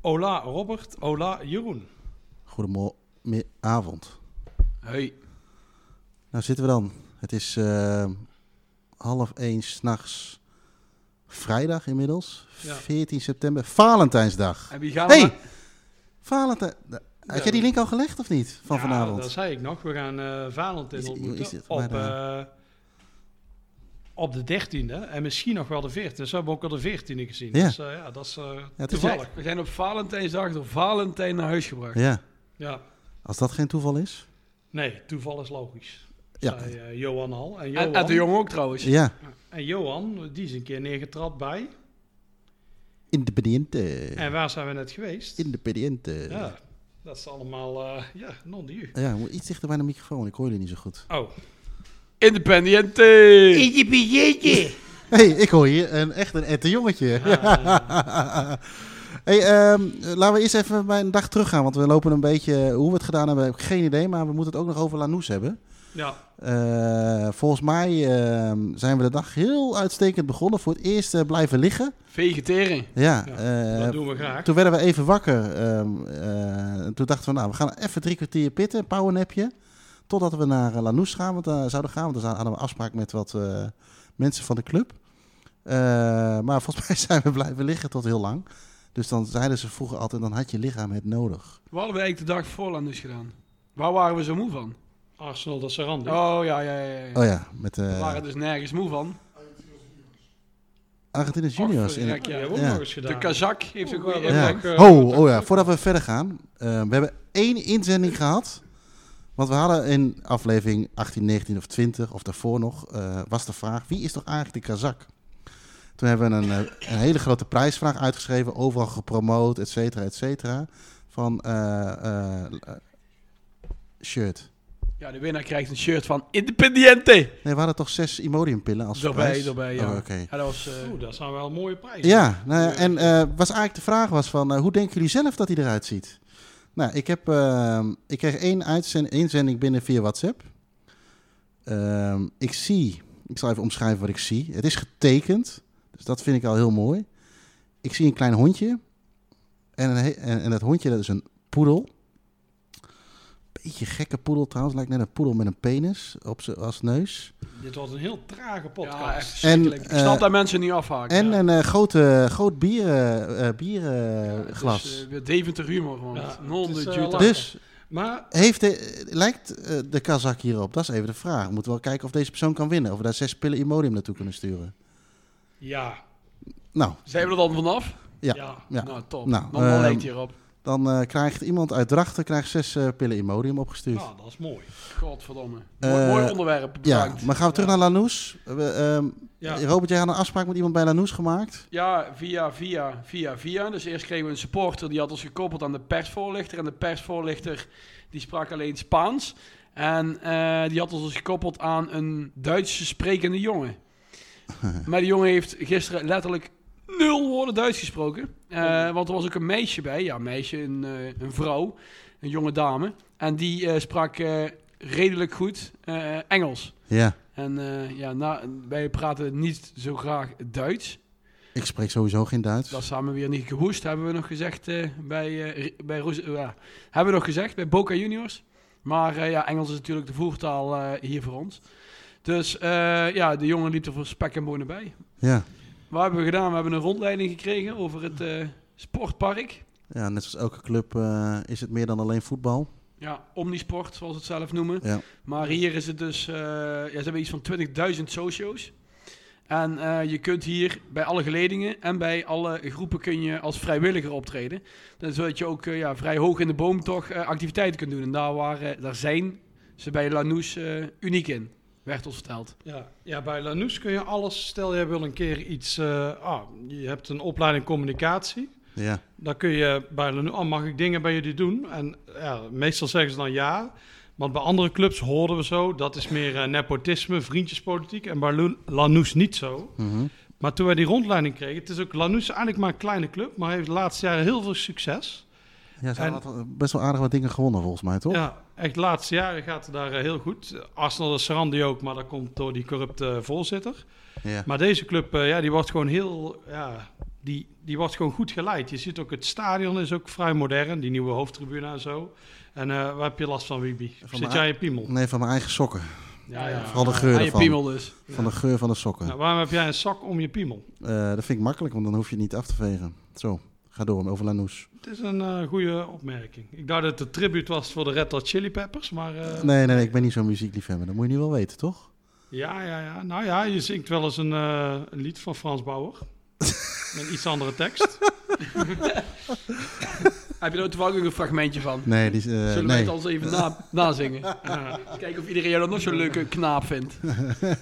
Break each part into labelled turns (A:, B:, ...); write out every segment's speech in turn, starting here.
A: Ola Robert, ola Jeroen.
B: Goedemorgenavond.
A: Hey.
B: Nou zitten we dan. Het is eh, half één s'nachts vrijdag inmiddels.
A: Ja.
B: 14 september, Valentijnsdag.
A: En wie gaan
B: Hey,
A: we?
B: Valentijn. Nou, Had jij die link al gelegd of niet? Van
A: Ja,
B: vanavond.
A: Dat zei ik nog. We gaan eh Valentijn
B: Is-
A: ontmoeten
B: is dit-
A: op,
B: maar,
A: eh, op de 13e en misschien nog wel de 14e. Ze hebben ook al de 14e gezien.
B: Ja.
A: Dus eh, ja, dat is eh,
B: het is
A: toevallig.
C: We zijn op Valentijnsdag door Valentijn naar huis gebracht.
B: Ja,
A: Ja.
B: als dat geen toeval is.
A: Nee, toeval is logisch.
B: Ja.
A: Zei eh, Johan al. En Johan,
C: En, en de jongen ook trouwens.
B: Ja,
A: en Johan, die is een keer neergetrapt bij.
B: independiënte.
A: En waar zijn we net geweest?
B: Independiënte.
A: Ja, dat is allemaal, eh, ja, non die.
B: Ja, moet iets dichter bij de microfoon. Ik hoor jullie niet zo goed.
A: Oh,
C: Independiente.
B: Hé, hey, ik hoor hier een, echt een ette jongetje. hey, ehm, laten we eerst even bij een dag teruggaan. Want we lopen een beetje... Hoe we het gedaan hebben, heb ik geen idee. Maar we moeten het ook nog over Lanús hebben.
A: ja,
B: Eh, volgens mij ehm, zijn we de dag heel uitstekend begonnen. Voor het eerst eh, blijven liggen.
C: Vegetering.
B: Ja,
A: Ja,
B: eh,
A: dat doen we graag.
B: toen werden we even wakker. ehm, eh, en toen dachten we, nou, we gaan even drie kwartier pitten, powernapje. Totdat we naar eh, Lanús gaan, want, daar zouden gaan. Want daar hadden we een afspraak met wat eh, mensen van de club. Eh, maar volgens mij zijn we blijven liggen tot heel lang. Dus dan zeiden ze vroeger altijd, dan had je lichaam het nodig.
C: Wat hadden we eigenlijk de dag voor aan dus gedaan? Waar waren we zo moe van?
A: Arsenal dat Sarandon.
C: Oh ja, ja, ja. ja.
B: Oh ja, met
C: We
B: eh
C: waren dus nergens moe van.
B: Argentinië juniors.
C: Och,
B: in,
C: verrek,
A: Ja,
C: ja.
A: hebben we
B: Ja.
A: ook nog eens gedaan.
C: De Kazak heeft een goede
A: Ja.
B: Ja.
C: impact.
A: eh,
B: Oh, oh ja, voordat we verder gaan. eh, we hebben één inzending gehad. Want we hadden in aflevering 18, 19 of 20, of daarvoor nog, eh, was de vraag: wie is toch eigenlijk de Kazak? Toen hebben we een, eh, een hele grote prijsvraag uitgeschreven, overal gepromoot, et cetera, et cetera. Van eh, eh, eh, shirt.
C: Ja, de winnaar krijgt een shirt van Independiente.
B: Nee, we hadden toch zes Imodiumpillen als
C: Daarbij,
B: prijs?
C: daarbij, ja.
B: Oh, oké.
C: Ja, dat was, eh,
A: Oeh, dat zijn wel mooie prijzen.
B: Ja, nou ja, en eh, was eigenlijk de vraag was van, eh, hoe denken jullie zelf dat hij eruit ziet? Nou, ik, heb, ehm, ik kreeg één uitzend- inzending binnen via WhatsApp. Ehm, ik zie, ik zal even omschrijven wat ik zie. Het is getekend, dus dat vind ik al heel mooi. Ik zie een klein hondje. En, een he- en, en dat hondje, dat is een poedel. Beetje gekke poedel trouwens, lijkt net een poedel met een penis op z'n- als neus.
A: Dit was een heel trage
C: ja, echt
A: podcast.
C: verschrikkelijk.
B: En,
C: Ik snap
B: eh,
C: dat mensen niet afhaken.
B: En
C: Ja.
B: een eh, grote, groot bierenglas.
C: Dus,
B: bierenglas.
C: eh, weer Deventer humor, man.
A: Ja,
C: non
A: het is,
C: de
A: eh,
C: Juta.
A: laat-
B: dus
A: maar
B: Heeft de, lijkt eh, de kazak hierop? Dat is even de vraag. We moeten wel kijken of deze persoon kan winnen. Of we daar zes pillen Imodium naartoe kunnen sturen.
A: ja,
B: Nou,
C: Zijn we er dan vanaf?
B: ja.
A: ja.
B: ja.
C: Nou, top.
B: Nou,
C: dan dan
B: ehm,
C: lijkt hierop.
B: Dan eh, krijgt iemand uit Drachten krijgt zes eh, pillen Imodium opgestuurd.
C: Oh,
A: Nou, dat is mooi.
C: Godverdomme.
B: Eh,
C: mooi, mooi onderwerp,
B: ja,
C: bedankt.
B: maar gaan we terug naar Lanús. We, ehm,
A: Ja.
B: Robert, jij had een afspraak met iemand bij Lanús gemaakt.
C: Ja, via, via, via, via. Dus eerst kregen we een supporter die had ons gekoppeld aan de persvoorlichter. En de persvoorlichter die sprak alleen Spaans. En eh, die had ons dus gekoppeld aan een Duits sprekende jongen. Maar die jongen heeft gisteren letterlijk nul woorden Duits gesproken. Eh, want er was ook een meisje bij. Ja, een meisje, een, eh, een vrouw, een jonge dame. En die eh, sprak eh, redelijk goed eh, Engels.
B: Ja,
C: En eh, ja, na, wij praten niet zo graag Duits.
B: ik spreek sowieso geen Duits.
C: Dat samen weer niet gehoest, hebben we nog gezegd eh, bij, eh bij, Roes- eh, ja, hebben we nog gezegd, bij Boca Juniors. Maar eh, ja, Engels is natuurlijk de voertaal eh, hier voor ons. Dus eh, ja, de jongen liep er voor spek en bonen bij.
B: Ja.
C: Wat hebben we gedaan? We hebben een rondleiding gekregen over het eh, sportpark.
B: ja, net zoals elke club eh, is het meer dan alleen voetbal.
C: Ja, Omnisport, zoals ze het zelf noemen.
B: Ja.
C: Maar hier is het dus, eh, ja, ze hebben iets van 20.000 socio's. En eh, je kunt hier bij alle geledingen en bij alle groepen kun je als vrijwilliger optreden. Dus Zodat je ook eh, ja, vrij hoog in de boom toch eh, activiteiten kunt doen. En daar, waar, eh, daar zijn ze bij Lanús eh, uniek in, werd ons verteld.
A: Ja, ja, bij Lanús kun je alles. Stel, jij wil een keer iets. eh, ah, je hebt een opleiding communicatie.
B: Ja.
A: Dan kun je bij Lanús. Oh, mag ik dingen bij jullie doen? En ja, meestal zeggen ze dan ja. Want bij andere clubs hoorden we zo. Dat is meer eh, nepotisme, vriendjespolitiek. En bij Lu- Lanús niet zo.
B: Mhm.
A: Maar toen wij die rondleiding kregen. Het is ook Lanús is eigenlijk maar een kleine club. Maar heeft de laatste jaren heel veel succes.
B: Ja, ze
A: En-
B: hadden wat- best wel aardig wat dingen gewonnen volgens mij, toch?
A: Ja, echt de laatste jaren gaat het daar eh, heel goed. Arsenal is Sarandi ook. Maar dat komt door die corrupte eh, voorzitter.
B: Ja.
A: Maar deze club, eh, ja, die wordt gewoon heel, ja, die, die wordt gewoon goed geleid. Je ziet ook, het stadion is ook vrij modern, die nieuwe hoofdtribune en zo. En eh, waar heb je last van, Wibi? Zit
B: mijn-
A: jij in je piemel?
B: Nee, van mijn eigen sokken.
C: Ja, ja.
B: Vooral eh. de geur
C: Aan je
B: ervan.
C: piemel dus.
B: Van de geur van de sokken.
A: Nou, waarom heb jij een zak om je piemel?
B: Eh, dat vind ik makkelijk, want dan hoef je het niet af te vegen. Zo, ga door over Lanús.
A: Het is een eh, goede opmerking. Ik dacht dat het een tribute was voor de Red Hot Chili Peppers, maar... eh,
B: Nee, nee, nee, ik ben niet zo'n muziekliefhebber. Dat moet je nu wel weten, toch?
A: Ja, ja, ja. Nou ja, je zingt wel eens een, eh, een lied van Frans Bauer. Met een iets andere tekst.
C: Heb je er toevallig ook een fragmentje van?
B: Nee, die, is, eh,
C: Zullen wij
B: nee.
C: het anders even na, nazingen?
A: Ja.
C: Eens Kijken of iedereen jou dan nog zo'n leuke knaap vindt.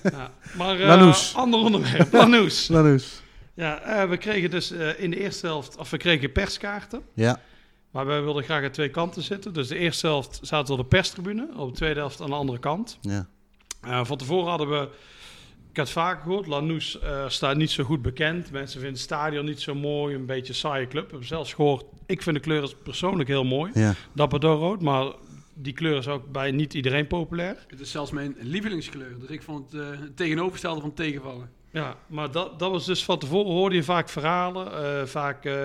A: ja. Maar eh,
B: Lanús.
A: ander onderwerp. Lanús.
B: Lanús.
A: Ja, eh, we kregen dus eh, in de eerste helft, of we kregen perskaarten.
B: Ja,
A: Maar wij wilden graag aan twee kanten zitten. Dus de eerste helft zaten we op de perstribune, op de tweede helft aan de andere kant.
B: ja.
A: Eh, van tevoren hadden we, ik had het vaak gehoord, Lanús eh, staat niet zo goed bekend. Mensen vinden het stadion niet zo mooi, een beetje een saaie club. We hebben zelfs gehoord, ik vind de kleur persoonlijk heel mooi,
B: ja.
A: dapper doorrood. Maar die kleur is ook bij niet iedereen populair.
C: Het is zelfs mijn lievelingskleur, dus ik vond het eh, het tegenovergestelde van tegenvallen.
A: Ja, maar dat, dat was dus van tevoren hoorde je vaak verhalen. eh, vaak eh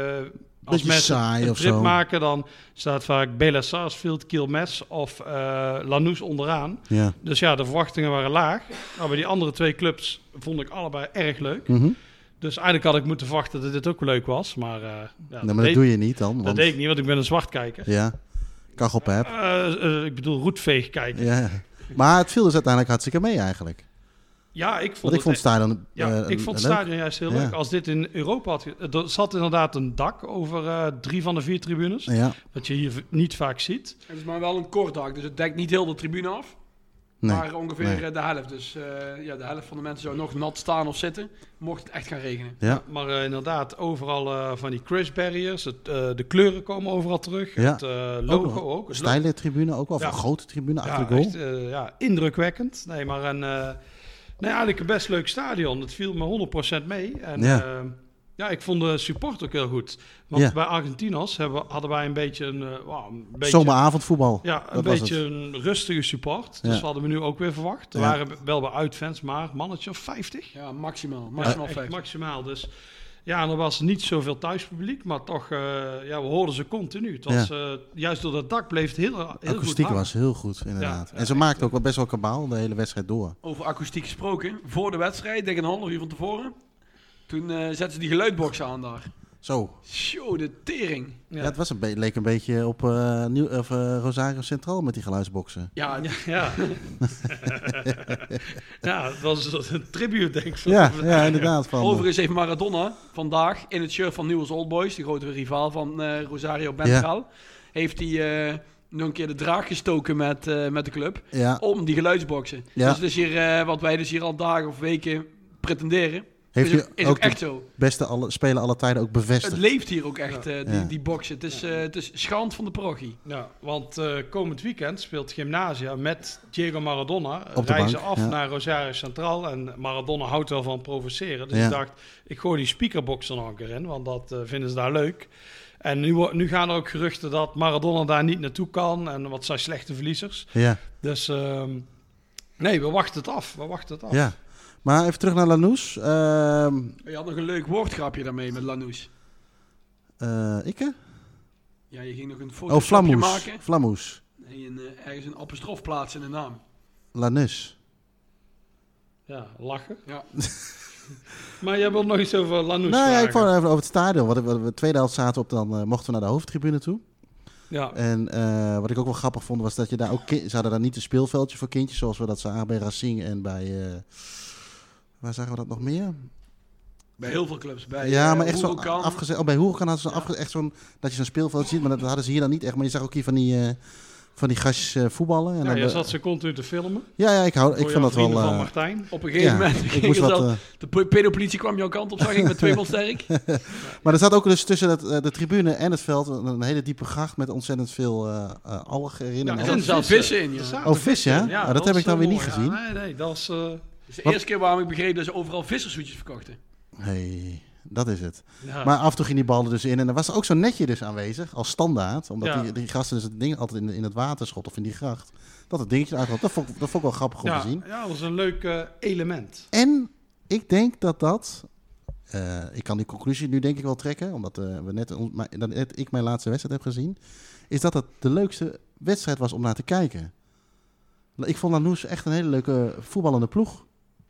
A: als
B: Beetje
A: mensen
B: saai
A: een
B: of
A: trip
B: zo.
A: maken, dan staat vaak Bela Sarsfield, Kilmes of eh Lanús onderaan.
B: ja.
A: Dus ja, de verwachtingen waren laag. Maar bij die andere twee clubs vond ik allebei erg leuk.
B: Mhm.
A: Dus eigenlijk had ik moeten verwachten dat dit ook leuk was. Maar, eh, ja,
B: Nee, Nou, maar dat
A: deed,
B: doe je niet dan.
A: dat
B: Want,
A: deed ik niet, want ik ben een zwartkijker.
B: Ja, kachelpijp.
A: Eh, eh, ik bedoel, roetveegkijker. Ja,
B: Ja. Maar het viel dus uiteindelijk hartstikke mee eigenlijk.
A: ik vond
B: Want ik
A: het
B: vond het stadion...
A: Ja,
B: eh,
A: ik vond het
B: leuk.
A: stadion juist heel
B: Ja.
A: leuk. Als dit in Europa had... ge- Er zat inderdaad een dak over eh, drie van de vier tribunes.
B: Ja,
A: Wat je hier v- niet vaak ziet.
C: Het is maar wel een kort dak, dus het dekt niet heel de tribune af,
B: nee.
C: maar ongeveer
B: nee.
C: eh, de helft. Dus eh, ja, de helft van de mensen zou nog nat staan of zitten, mocht het echt gaan regenen.
B: Ja,
A: Maar eh, inderdaad, overal eh, van die crash barriers. Het, eh, de kleuren komen overal terug.
B: Ja.
A: Het eh,
B: Ook
A: logo
B: nog.
A: ook. Het lo-
B: steile tribune ook wel. Of
A: Ja.
B: een grote tribune
A: ja,
B: achter de goal.
A: echt, eh, ja, indrukwekkend. Nee, maar een, eh, nee, eigenlijk een best leuk stadion. Het viel me 100% mee. En,
B: Ja.
A: ja. ja, ik vond de support ook heel goed. Want
B: Ja.
A: bij Argentinos hebben, we- hadden wij een beetje een, eh, wauw, een beetje
B: Zomeravondvoetbal.
A: Ja, een
B: dat was
A: beetje
B: het.
A: een rustige support.
B: Ja.
A: Dus we hadden we nu ook weer verwacht. Er
B: Ja.
A: waren wel bij uitfans, maar mannetje of 50.
C: Ja, maximaal.
A: Ja,
C: Maximaal
A: echt
C: vijf.
A: maximaal. Dus ja, en er was niet zoveel thuispubliek, maar toch, eh, ja, we hoorden ze continu. Het was, eh, juist door dat dak bleef het heel, heel goed
B: Akoestiek
A: hangen.
B: was heel goed, inderdaad.
A: Ja,
B: en ze maakte ook wel best wel kabaal de hele wedstrijd door.
C: Over akoestiek gesproken, voor de wedstrijd, denk ik een half uur van tevoren, toen eh, zetten ze die geluidbox aan daar.
B: Zo.
C: Show de tering.
B: Ja.
A: Ja.
B: het was een be- leek een beetje op eh, Nieuw of, eh, Rosario Centraal met die geluidsboxen.
C: Ja,
A: Ja, ja. ja, het was een tribute, denk ik. van-
B: Ja, ja inderdaad. Van, eh,
C: Overigens heeft Maradona vandaag in het shirt van Newell's Old Boys, de grote rivaal van eh, Rosario Central, heeft hij eh, nog een keer de draag gestoken met, eh, met de club
B: ja,
C: om die geluidsboxen.
B: Ja.
C: Dus het is hier eh, wat wij dus hier al dagen of weken pretenderen.
B: heeft
C: is ook,
B: hij
C: is
B: ook
C: ook
B: de
C: echt zo.
B: beste alle, spelen alle tijden ook
C: Het
B: bevestigd.
C: leeft hier ook echt, eh, die,
B: Ja.
C: die boxen. Het is, eh, het is schand van de parochie.
A: Ja, want eh, komend weekend speelt Gymnasia met Diego Maradona.
B: Op de
A: reizen
B: bank,
A: af
B: ja.
A: naar Rosario Centraal. En Maradona houdt wel van provoceren. Dus
B: Ja.
A: ik dacht, ik gooi die speakerbox er nog een keer in. Want dat eh, vinden ze daar leuk. En nu, wo- nu gaan er ook geruchten dat Maradona daar niet naartoe kan. En wat zijn slechte verliezers.
B: Ja,
A: Dus ehm, nee, we wachten het af. We wachten het af.
B: ja. Maar even terug naar Lanús. Ehm,
C: Je had nog een leuk woordgrapje daarmee met Lanús.
B: eh, ikke?
C: Ja, je ging nog een foto
B: Oh, Flamoes.
C: maken.
B: Flamoes.
C: En je, eh, ergens een apostrof plaatsen in de naam.
B: Lanús.
A: Ja, lachen.
C: Ja.
A: maar jij wilt nog iets over Lanús
B: Nou ja,
A: vragen?
B: ik vond even over het stadion. Wat, ik- wat we de tweede helft zaten op, dan eh, mochten we naar de hoofdtribune toe.
A: Ja.
B: En eh, wat ik ook wel grappig vond, was dat je daar ook... ki- Ze hadden daar niet een speelveldje voor kindjes, zoals we dat zagen bij Racing en bij... eh, waar zagen we dat nog meer?
C: Bij heel veel clubs. Bij,
B: ja,
C: eh,
B: maar echt zo'n
C: Huracan.
B: afgezet... Oh, bij Huracan hadden ze afge- echt zo'n... Dat je zo'n speelveld ziet, maar dat hadden ze hier dan niet echt. Maar je zag ook hier van die... eh, van die gastjes eh, voetballen. En
A: Ja,
B: dan
A: je
B: de-
A: zat ze continu te filmen.
B: ja, ja, ik, hou, ik
A: Voor
B: vind
A: jouw
B: dat wel...
A: vrienden van
B: eh,
A: Martijn.
C: Op een gegeven
B: ja,
C: moment
B: ik moest
C: ging
B: wat,
C: dat-
B: eh,
C: de pe- pedopolitie kwam jouw kant op, zag ik met twee man sterk.
B: maar er zat ook dus tussen dat, eh, de tribune en het veld een, een hele diepe gracht met ontzettend veel eh eh, algen erin.
A: Ja,
C: Er
A: en
B: en alles.
C: zaten zelfs vissen in, ja.
A: Er zaten
B: Oh, vis, ja?
A: vissen.
B: Ah, dat, heb
A: is
B: ik dan weer
A: wel
B: niet
A: mooi. Ja,
B: gezien.
A: nee, nee, dat is... eh,
C: Dus de
B: Wat-
C: eerste keer waarom ik begreep dat ze overal vissershoedjes verkochten.
B: hey, dat is het.
C: Ja.
B: Maar af en toe ging die bal er dus in. En er was ook zo'n netje dus aanwezig, als standaard. Omdat
A: Ja.
B: die, die gasten dus het ding altijd in, in het water schotten of in die gracht. Dat het dingetje eruit kwam. Dat vond, ik- dat vond ik wel grappig om
A: ja,
B: te zien.
A: ja, dat is een leuk eh, element.
B: En ik denk dat dat... eh, ik kan die conclusie nu denk ik wel trekken. Omdat eh, we net, on- maar, dat net ik mijn laatste wedstrijd heb gezien. Is dat dat de leukste wedstrijd was om naar te kijken. Ik vond Lanús echt een hele leuke voetballende ploeg.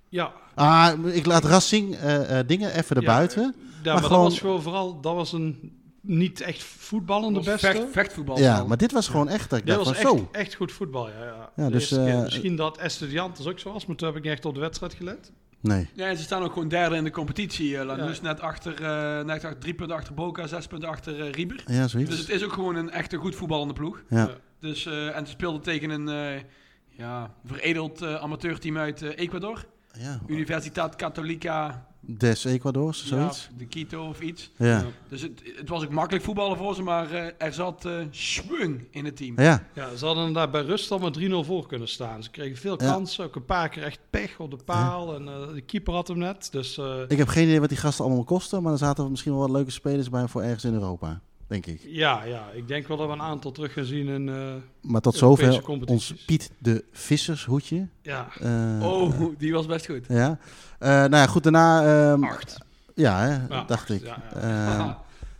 A: Ja,
B: Ah, ik laat Racing eh, eh, dingen even erbuiten.
A: Ja, eh, maar,
B: gewoon-
A: dat was gewoon vooral, dat was een niet echt voetballende
C: Dat was
A: beste.
C: vecht, vechtvoetbal.
B: Ja,
C: vooral.
B: maar dit was gewoon echt. Dat ik
A: Dit
B: dacht
A: was
B: van
A: echt,
B: zo.
A: echt goed voetbal, ja. ja.
B: Ja,
A: De
B: dus,
A: eerste keer.
B: eh,
A: Misschien dat Estudiantes ook zo was, maar toen heb ik niet echt op de wedstrijd gelet.
B: Nee.
C: Ja, en ze staan ook gewoon derde in de competitie. eh Lanús
A: Ja.
C: net achter, eh, net achter, drie punten achter Boca, zes punten achter eh, Rieber.
B: Ja,
C: Dus het
B: zoiets.
C: is ook gewoon een echte goed voetballende ploeg.
B: Ja.
C: Dus, eh, en ze speelden tegen een eh, ja, veredeld eh, amateurteam uit eh, Ecuador.
B: ja.
C: Universitat Católica
B: Des Ecuadors, zoiets.
C: ja, de Quito of iets.
B: Ja.
C: Dus het, het was ook makkelijk voetballen voor ze, maar eh, er zat eh schwung in het team.
B: Ja.
A: Ja, ze hadden daar bij rust al met 3-0 voor kunnen staan. Ze kregen veel
B: Ja.
A: kansen, ook een paar keer echt pech op de paal. En eh, de keeper had hem net, dus... eh,
B: Ik heb geen idee wat die gasten allemaal kosten, maar er zaten misschien wel wat leuke spelers bij voor ergens in Europa. Denk ik.
A: ja, ja, ik denk wel dat we een aantal terug gaan zien. En, eh,
B: Maar tot
A: Europese
B: zover
A: competities.
B: ons Piet de Vissershoedje.
A: ja,
B: Eh,
C: Oh, die was best goed.
B: Ja. Eh, nou ja, goed, daarna... ehm,
C: Acht.
B: Ja, hè,
A: Ja,
B: dacht ik.
A: ja, ja.
B: Ehm,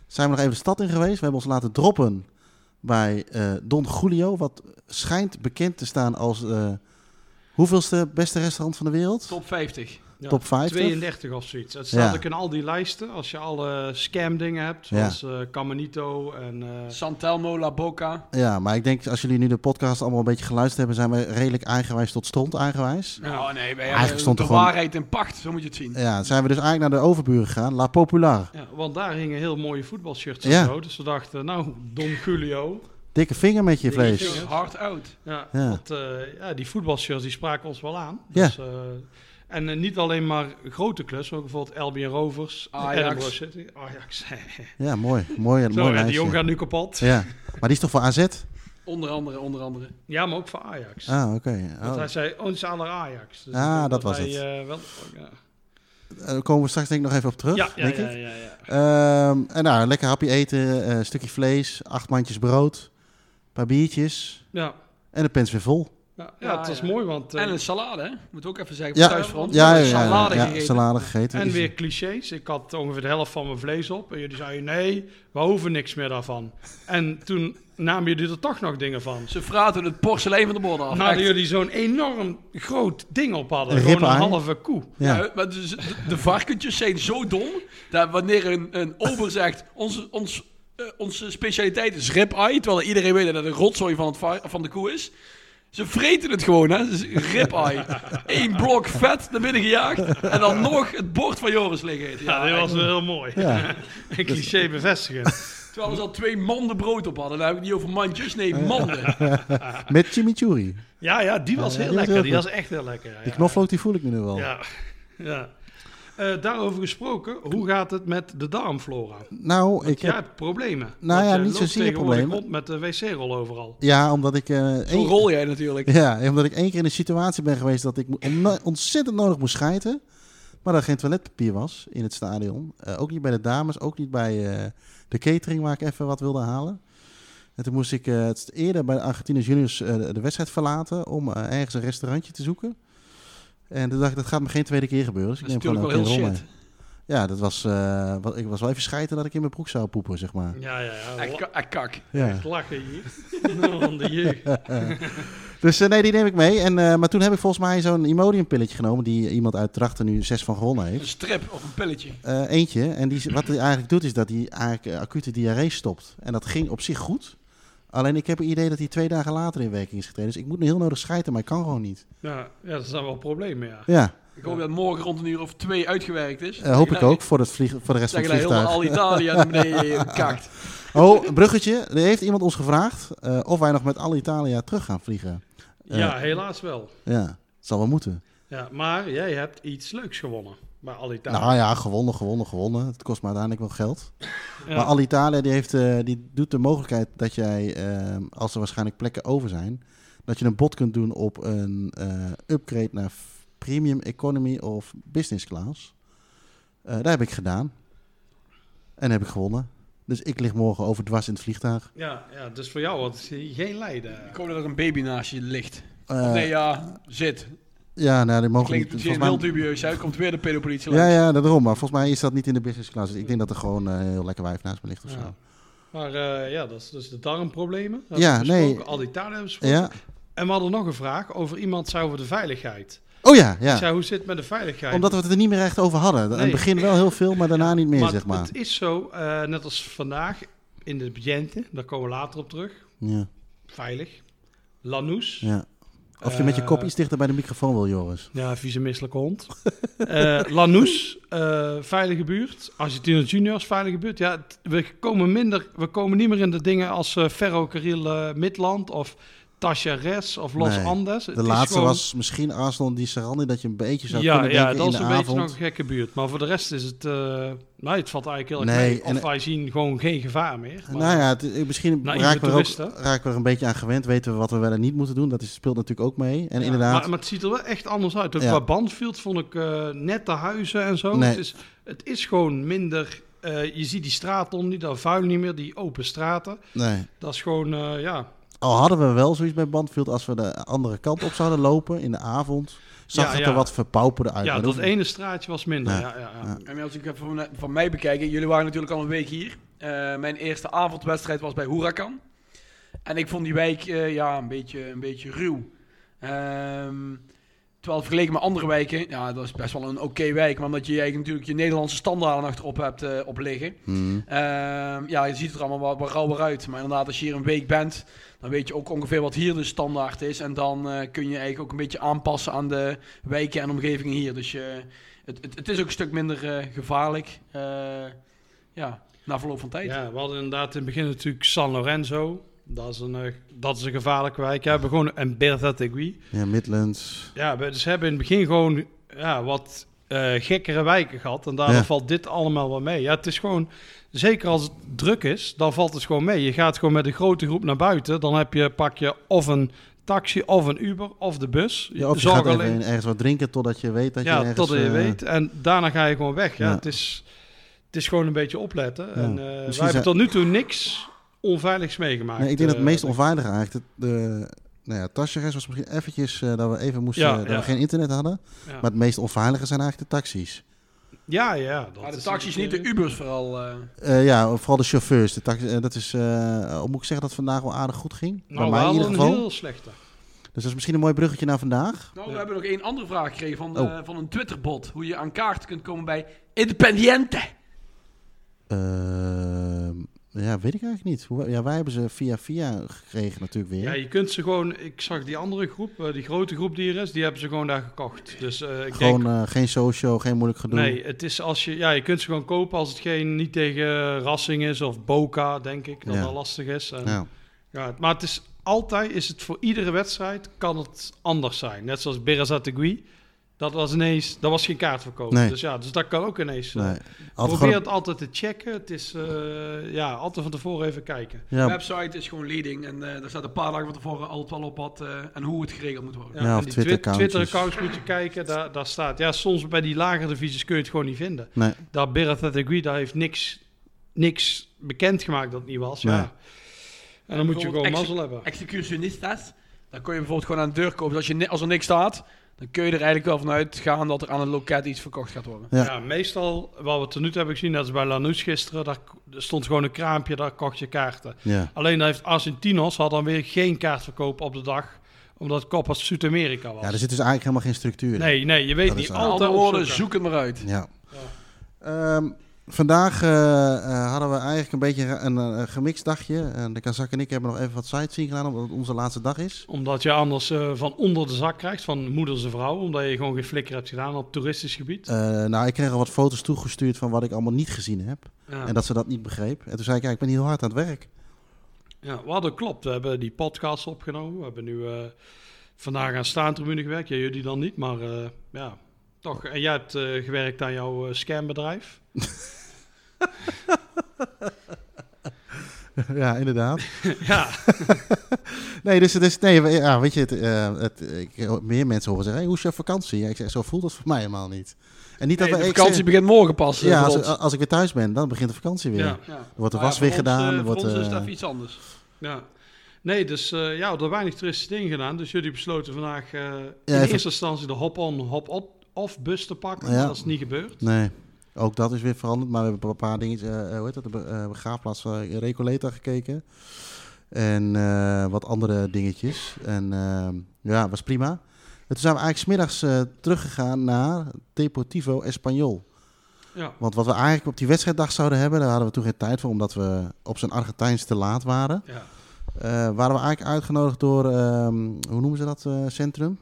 B: zijn we nog even de stad in geweest. We hebben ons laten droppen bij eh, Don Julio. Wat schijnt bekend te staan als... eh, hoeveelste beste restaurant van de wereld?
C: Top 50.
A: ja,
B: Top 50?
A: 32 of zoiets. Het staat
B: Ja.
A: ook in al die lijsten. Als je alle scam dingen hebt,
B: Ja.
A: zoals eh Camanito en... eh,
C: Santelmo, La Boca.
B: Ja, maar ik denk als jullie nu de podcast allemaal een beetje geluisterd hebben, zijn we redelijk eigenwijs tot stront eigenwijs.
C: Ja. Oh nee, wij
B: Eigenlijk
C: hebben
B: stond
C: de
B: er gewoon-
C: waarheid in pacht, zo moet je het zien.
B: Ja, zijn we dus eigenlijk naar de overburen gegaan, La Popular.
A: Ja, want daar hingen heel mooie voetbalshirts
B: Ja.
A: en zo. Dus we dachten, nou, Don Julio.
B: Dikke vinger met je
A: Dikke
B: vlees.
A: vinger.
C: Dus Hard out.
A: Ja,
B: Ja.
A: Want, eh, ja, die voetbalshirts die spraken ons wel aan.
B: Ja.
A: Dus, eh, en eh, niet alleen maar grote clubs, maar ook bijvoorbeeld LBN Rovers,
C: Ajax.
A: Edinburgh City, Ajax.
B: Ja, mooi. Mooi,
A: Zo,
B: mooi
A: en die
B: lijstje.
A: jong gaat nu kapot. Ja.
B: Ja, maar die is toch voor AZ?
C: Onder andere, onder andere.
A: maar ook voor Ajax.
B: Ah, oké.
A: Want
B: Oh.
A: hij zei, ons aller Ajax. Dus ik
B: Ah,
A: denk
B: dat was
A: wij,
B: het.
A: eh, wel, ja.
B: Eh, Daar komen we straks denk ik nog even op terug,
A: Ja, ja,
B: denk
A: ja,
B: ik.
A: ja, ja.
B: Ehm, en nou, lekker hapje eten, eh, een stukje vlees, acht mandjes brood, een paar biertjes
A: Ja.
B: en de pens weer vol.
A: Ja,
C: Ja,
A: het was
C: ja.
A: mooi, want... eh,
C: En een salade, hè? Moet ook even zeggen.
B: Ja.
C: thuisfront.
B: Ja, ja, ja, ja,
C: salade
B: ja,
C: gegeten.
B: salade gegeten.
A: En
B: Is-
A: weer clichés. Ik had ongeveer de helft van mijn vlees op. En jullie zeiden, nee, we hoeven niks meer daarvan. En toen namen jullie er toch nog dingen van.
C: Ze fraten het porselein van de borden af.
A: Nadat
C: echt.
A: jullie zo'n enorm groot ding op hadden.
B: Een
A: Gewoon een
B: ribeye.
A: halve koe.
C: Ja.
B: Ja.
C: maar dus de, de varkentjes zijn zo dom dat wanneer een, een ober zegt: onze, ons, eh, onze specialiteit is ribeye, terwijl iedereen weet dat het een rotzooi van, het va- van de koe is. Ze vreten het gewoon, hè? Dus ribeye. Eén blok vet naar binnen gejaagd en dan nog het bord van Joris liggen. eten.
A: Ja, dit was wel heel mooi.
B: Ja.
A: Een cliché bevestigen.
C: Terwijl ze al twee manden brood op hadden. Dan heb ik het niet over mandjes, nee, manden.
B: Met chimichurri.
A: Ja, ja, die was
B: Ja,
A: heel
B: die was
A: lekker.
B: heel
A: die
B: goed.
A: was echt heel lekker. ja,
B: Die
A: ja.
B: knoflook die voel ik nu wel.
A: Ja, ja. Eh, daarover gesproken, hoe gaat het met de darmflora?
B: Nou, ik
A: Jij
B: heb...
A: hebt problemen.
B: Nou
A: Want
B: ja,
A: jij
B: niet
A: loopt
B: zozeer
A: tegenwoordig rond
B: problemen.
A: met de wc-rol overal.
B: Ja, omdat ik... eh,
C: Zo
B: één-
C: rol jij natuurlijk.
B: Ja, omdat ik één keer in een situatie ben geweest dat ik mo- onno- ontzettend nodig moest schijten. Maar er geen toiletpapier was in het stadion. Eh, ook niet bij de dames, ook niet bij eh, de catering waar ik even wat wilde halen. En toen moest ik eh, het eerder bij de Argentinië Juniors eh, de- de wedstrijd verlaten om eh, ergens een restaurantje te zoeken. En toen dacht ik, dat gaat me geen tweede keer gebeuren. Dus ik
C: Dat is
B: neem gewoon
C: natuurlijk
B: een
C: wel heel
B: keer
C: shit.
B: rol mee. Ja, dat was, eh, wat, ik was wel even schijten dat ik in mijn broek zou poepen, zeg maar.
A: Ja, ja, ja.
C: Echt ka- echt kak.
B: Ja.
A: lachen hier. Nou, Van de jeugd.
B: Dus eh, nee, die neem ik mee. En, eh, maar toen heb ik volgens mij zo'n Imodium-pilletje genomen... die iemand uit Drachten nu zes van gewonnen heeft.
C: Een strip of een pilletje.
B: Eh, eentje. En die, wat hij eigenlijk doet, is dat hij eigenlijk eh, acute diarree stopt. En dat ging op zich goed. Alleen ik heb het idee dat hij twee
A: Nou,
B: dagen later in werking is getreden. Dus ik moet nu heel nodig schijten, maar ik kan gewoon niet.
A: Ja, ja, dat zijn wel problemen, ja.
B: Ja.
C: Ik hoop dat het morgen rond een uur of twee uitgewerkt is.
B: Eh, hoop ik ook, voor, het vlieg, voor de rest van
C: Zeg
B: het
C: je nou dat heel
B: vliegtuig.
C: al Italië naar beneden kakt.
B: Oh, een bruggetje. Er heeft iemand ons gevraagd eh, of wij nog met Alitalia terug gaan vliegen. Eh,
A: Ja, helaas wel.
B: Ja, het zal wel moeten.
A: Ja, maar jij hebt iets leuks gewonnen bij Alitalia.
B: Nou ja, gewonnen, gewonnen, gewonnen. Het kost me uiteindelijk wel geld.
A: Ja.
B: Maar Alitalia die heeft, eh, die doet de mogelijkheid dat jij, eh, als er waarschijnlijk plekken over zijn, dat je een bod kunt doen op een eh, upgrade naar f- premium economy of business class. Eh daar heb ik gedaan. En heb ik gewonnen. Dus ik lig morgen overdwars in het vliegtuig.
A: ja, ja, dus voor jou wordt het geen lijden.
C: Ik hoop dat er een baby naast je ligt.
B: Eh,
C: nee, ja, zit.
B: Ja, nou, die mogen
C: Klinkt
B: niet.
C: misschien
B: volgens
C: heel
B: mij-
C: dubieus uit. Komt weer de pedopolitie
B: Ja,
C: langs.
B: ja, daarom. Maar volgens mij is dat niet in de business class. Dus ik denk dat er gewoon eh, heel lekker wijf naast me ligt of
A: Ja.
B: zo.
A: Maar eh, ja, dat is dus de darmproblemen. Dat dus
B: Ja,
A: hebben we besproken,
B: nee.
A: Alitalia hebben we besproken.
B: Ja.
A: dus En we hadden nog een vraag over iemand zou over de veiligheid.
B: Oh ja,
A: Ik
B: ja.
A: zei, hoe zit het met de veiligheid?
B: Omdat we het er niet meer echt over hadden. Aan het
A: Nee.
B: begin wel heel veel, maar daarna niet meer,
A: maar
B: zeg maar.
A: het is zo, eh, net als vandaag in de Biente, daar komen we later op terug.
B: Ja,
A: Veilig. Lanús.
B: ja. Of je met je kop
A: Eh,
B: iets dichter bij de microfoon wil, Joris.
A: Ja, vieze misselijke hond. Eh Lanús, eh, veilige buurt. Argentina Juniors, veilige buurt. Ja, t- we komen minder, we komen niet meer in de dingen als eh, Ferro Carril eh, Midland of Tacheres of Los
B: Nee,
A: Andes. Het
B: De
A: is
B: laatste
A: gewoon-
B: was misschien Arsenal en die Sarandi, dat je een beetje zou
A: Ja,
B: kunnen denken
A: ja, dat
B: in
A: is
B: de
A: een beetje nog
B: avond.
A: een gekke buurt. Maar voor de rest is het, eh nee, het valt eigenlijk heel erg
B: Nee,
A: mee. Of
B: en-
A: wij zien gewoon geen gevaar meer. Maar,
B: Nou ja, het- eh, misschien
A: Nou,
B: raken, we er ook,
A: toeristen.
B: raken we er een beetje aan gewend. Weten we wat we wel en niet moeten doen. Dat is, speelt natuurlijk ook mee. En
A: Ja,
B: inderdaad,
A: Maar, maar het ziet er wel echt anders uit. Ook
B: Ja.
A: Qua Bandfield vond ik eh, nette huizen en zo.
B: Nee.
A: Het, is, het is gewoon minder... eh, je ziet die straten niet, dat vuil niet meer, die open straten.
B: nee.
A: Dat is gewoon, eh, ja...
B: Al hadden we wel zoiets bij Bandfield, als we de andere kant op zouden lopen in de avond, zag
A: Ja,
B: het
A: ja.
B: er wat verpauperder uit.
A: ja,
B: Maar
A: dat
B: hoeft-
A: ene straatje was minder.
B: Ja.
A: Ja, ja, ja.
B: Ja.
C: En als ik het van, van mij bekijk, jullie waren natuurlijk al een week hier. Eh, mijn eerste avondwedstrijd was bij Huracan. En ik vond die wijk eh, ja, een, beetje, een beetje ruw. Ehm, terwijl vergeleken met andere wijken, ja, dat is best wel een oké wijk. Maar omdat je eigenlijk natuurlijk je Nederlandse standaarden achterop hebt eh, op liggen.
B: Hmm.
C: Ehm, ja, je ziet het er allemaal wat, wat rauwer uit. Maar inderdaad, als je hier een week bent, dan weet je ook ongeveer wat hier de standaard is. En dan eh, kun je eigenlijk ook een beetje aanpassen aan de wijken en omgevingen hier. Dus je, het, het, het is ook een stuk minder eh, gevaarlijk. Eh, ja, na verloop van tijd.
A: Ja, we hadden inderdaad in het begin natuurlijk San Lorenzo. Dat is een, eh, dat is een gevaarlijke wijk. Ja, we hebben gewoon... En Bertategui.
B: Ja, Midlands.
A: Ja, we dus hebben in het begin gewoon ja, wat eh, gekkere wijken gehad. En daarom
B: Ja.
A: valt dit allemaal wel mee. Ja, het is gewoon, zeker als het druk is, dan valt het gewoon mee. Je gaat gewoon met een grote groep naar buiten. Dan heb je, pak je of een taxi, of een Uber, of de bus.
B: Ja, of je
A: Zorg
B: gaat even
A: alleen-
B: ergens wat drinken totdat je weet dat je
A: ja,
B: ergens...
A: totdat je
B: eh,
A: weet. En daarna ga je gewoon weg. Ja,
B: ja.
A: Het, is, het is gewoon een beetje opletten. En eh, wij
B: zijn-
A: hebben tot nu toe niks onveiligs meegemaakt.
B: Nee, ik denk dat het
A: eh,
B: meest onveilige eigenlijk... De, de, nou ja, Tascheres was misschien eventjes eh, dat we even moesten...
A: Ja,
B: dat
A: ja.
B: we geen internet hadden.
A: Ja.
B: Maar het meest onveilige zijn eigenlijk de taxis.
A: Ja, ja. Dat
C: maar de
A: is-
C: taxis, niet de Ubers vooral. eh.
B: Eh, ja, vooral de chauffeurs. De taxi, eh, dat is, eh, moet ik zeggen dat het vandaag wel aardig goed ging.
A: Nou, we
B: Bij mij in
A: hadden
B: ieder
A: een
B: geval.
A: heel slechte.
B: Dus dat is misschien een mooi bruggetje naar vandaag.
C: Nou, we
A: Ja.
C: hebben nog één andere vraag gekregen van,
B: Oh.
C: eh, van een Twitterbot. Hoe je aan kaart kunt komen bij Independiente.
B: Ehm, ja, weet ik eigenlijk niet. Hoe- Ja, wij hebben ze via via gekregen natuurlijk
A: Ja,
B: weer.
A: je kunt ze gewoon... Ik zag die andere groep, eh, die grote groep die er is, die hebben ze gewoon daar gekocht. Dus eh, ik
B: Gewoon
A: denk...
B: eh, geen social, geen moeilijk gedoe.
A: Nee, het is als je, ja, je kunt ze gewoon kopen als het geen, niet tegen Rassing is of Boca, denk ik, dat
B: Ja.
A: dat lastig is. En, ja.
B: Ja.
A: het- maar het is altijd, is het voor iedere wedstrijd, kan het anders zijn. Net zoals Berazategui, dat was ineens, dat was geen kaartverkoop.
B: Nee.
A: Dus ja, dus dat kan ook ineens. eh,
B: Nee. Altijd
A: probeer
B: gewoon-
A: het altijd te checken. Het is, eh, ja, altijd van tevoren even kijken.
C: De
B: ja,
C: website is gewoon leading. En eh, daar staat een paar dagen van tevoren altijd wel op wat eh, en hoe het geregeld moet worden.
A: Ja,
B: Ja,
A: en
B: of
A: die
B: Twitter-accountjes.
A: Twitter-accounts moet je kijken, daar, daar staat. Ja, soms bij die lagere divisies kun je het gewoon niet vinden.
B: nee.
A: Daar Berategui, daar heeft niks, niks bekendgemaakt dat het niet was.
B: Nee.
A: Ja. En dan moet je gewoon
C: Bijvoorbeeld
A: mazzel hebben.
C: executionistas. Dan kun je bijvoorbeeld gewoon aan de deur kopen. Dus als, je, ni- als er niks staat, dan kun je er eigenlijk wel vanuit gaan dat er aan een loket iets verkocht gaat worden.
B: Ja.
A: Ja. meestal, wat we tot nu toe hebben gezien, dat is bij Lanús gisteren. Daar k- er stond gewoon een kraampje, daar kocht je kaarten.
B: Ja.
A: Alleen daar heeft Argentinos had dan weer geen kaartverkoop op de dag, omdat Copas Zuid-Amerika was.
B: ja, er zit dus eigenlijk helemaal geen structuur in.
A: Nee, nee, je weet
B: Dat is
A: niet.
B: waar.
C: Met
A: Altijd
C: andere woorden, zoek
A: opzoeken.
C: het maar uit.
B: Ja. Ehm, Vandaag eh, eh, hadden we eigenlijk een beetje een, eh, gemixt dagje. En de Kazak en ik hebben nog even wat sightseeing gedaan, omdat het onze laatste dag is.
A: Omdat je anders eh, van onder de zak krijgt, van moeders en vrouw, omdat je gewoon geen flikker hebt gedaan op toeristisch gebied.
B: Eh, nou, ik kreeg al wat foto's toegestuurd van wat ik allemaal niet gezien heb.
A: Ja.
B: En dat ze dat niet begreep. En toen zei ik, ja, ik ben hier heel hard aan het werk.
A: Ja, wat dat klopt. We hebben die podcast opgenomen. We hebben nu eh, vandaag aan staantribune gewerkt. Ja, jullie dan niet, maar eh, ja, toch. En jij hebt eh, gewerkt aan jouw eh, scambedrijf.
B: ja, inderdaad.
A: ja,
B: Nee, dus, dus nee, we- ja, weet je, het, eh, het, ik- meer mensen horen zeggen, hey, hoe is je vakantie? Ja, ik zeg, zo voelt het voor mij helemaal niet. En niet
C: Nee,
B: dat
C: de
B: we, ik
C: vakantie
B: zeg-
C: begint morgen pas. eh,
B: Ja,
C: voor
B: als,
C: ons.
B: als ik weer thuis ben, dan begint de vakantie weer.
A: ja,
B: Er
C: Ja.
B: wordt de
C: Maar ja,
B: was weer
C: voor ons,
B: gedaan.
C: eh,
B: er wordt,
C: voor ons is
B: eh,
C: het even iets anders.
A: ja. Nee, dus eh, ja, we hadden weinig toeristische dingen gedaan. Dus jullie besloten vandaag eh, in
B: even-
A: eerste instantie de hop-on, hop-off bus te pakken.
B: Ja.
A: Dat is niet gebeurd.
B: Nee, ook dat is weer veranderd. Maar we hebben een paar dingen, eh, hoe heet dat, de be- eh, begraafplaats eh, Recoleta gekeken. En eh, wat andere dingetjes. En ehm, ja, was prima. En toen zijn we eigenlijk smiddags eh teruggegaan naar Deportivo Espanyol.
A: Ja,
B: Want wat we eigenlijk op die wedstrijddag zouden hebben, daar hadden we toen geen tijd voor, omdat we op zijn Argentijns te laat waren.
A: ja.
B: Eh, waren we eigenlijk uitgenodigd door, ehm, hoe noemen ze dat, eh, centrum?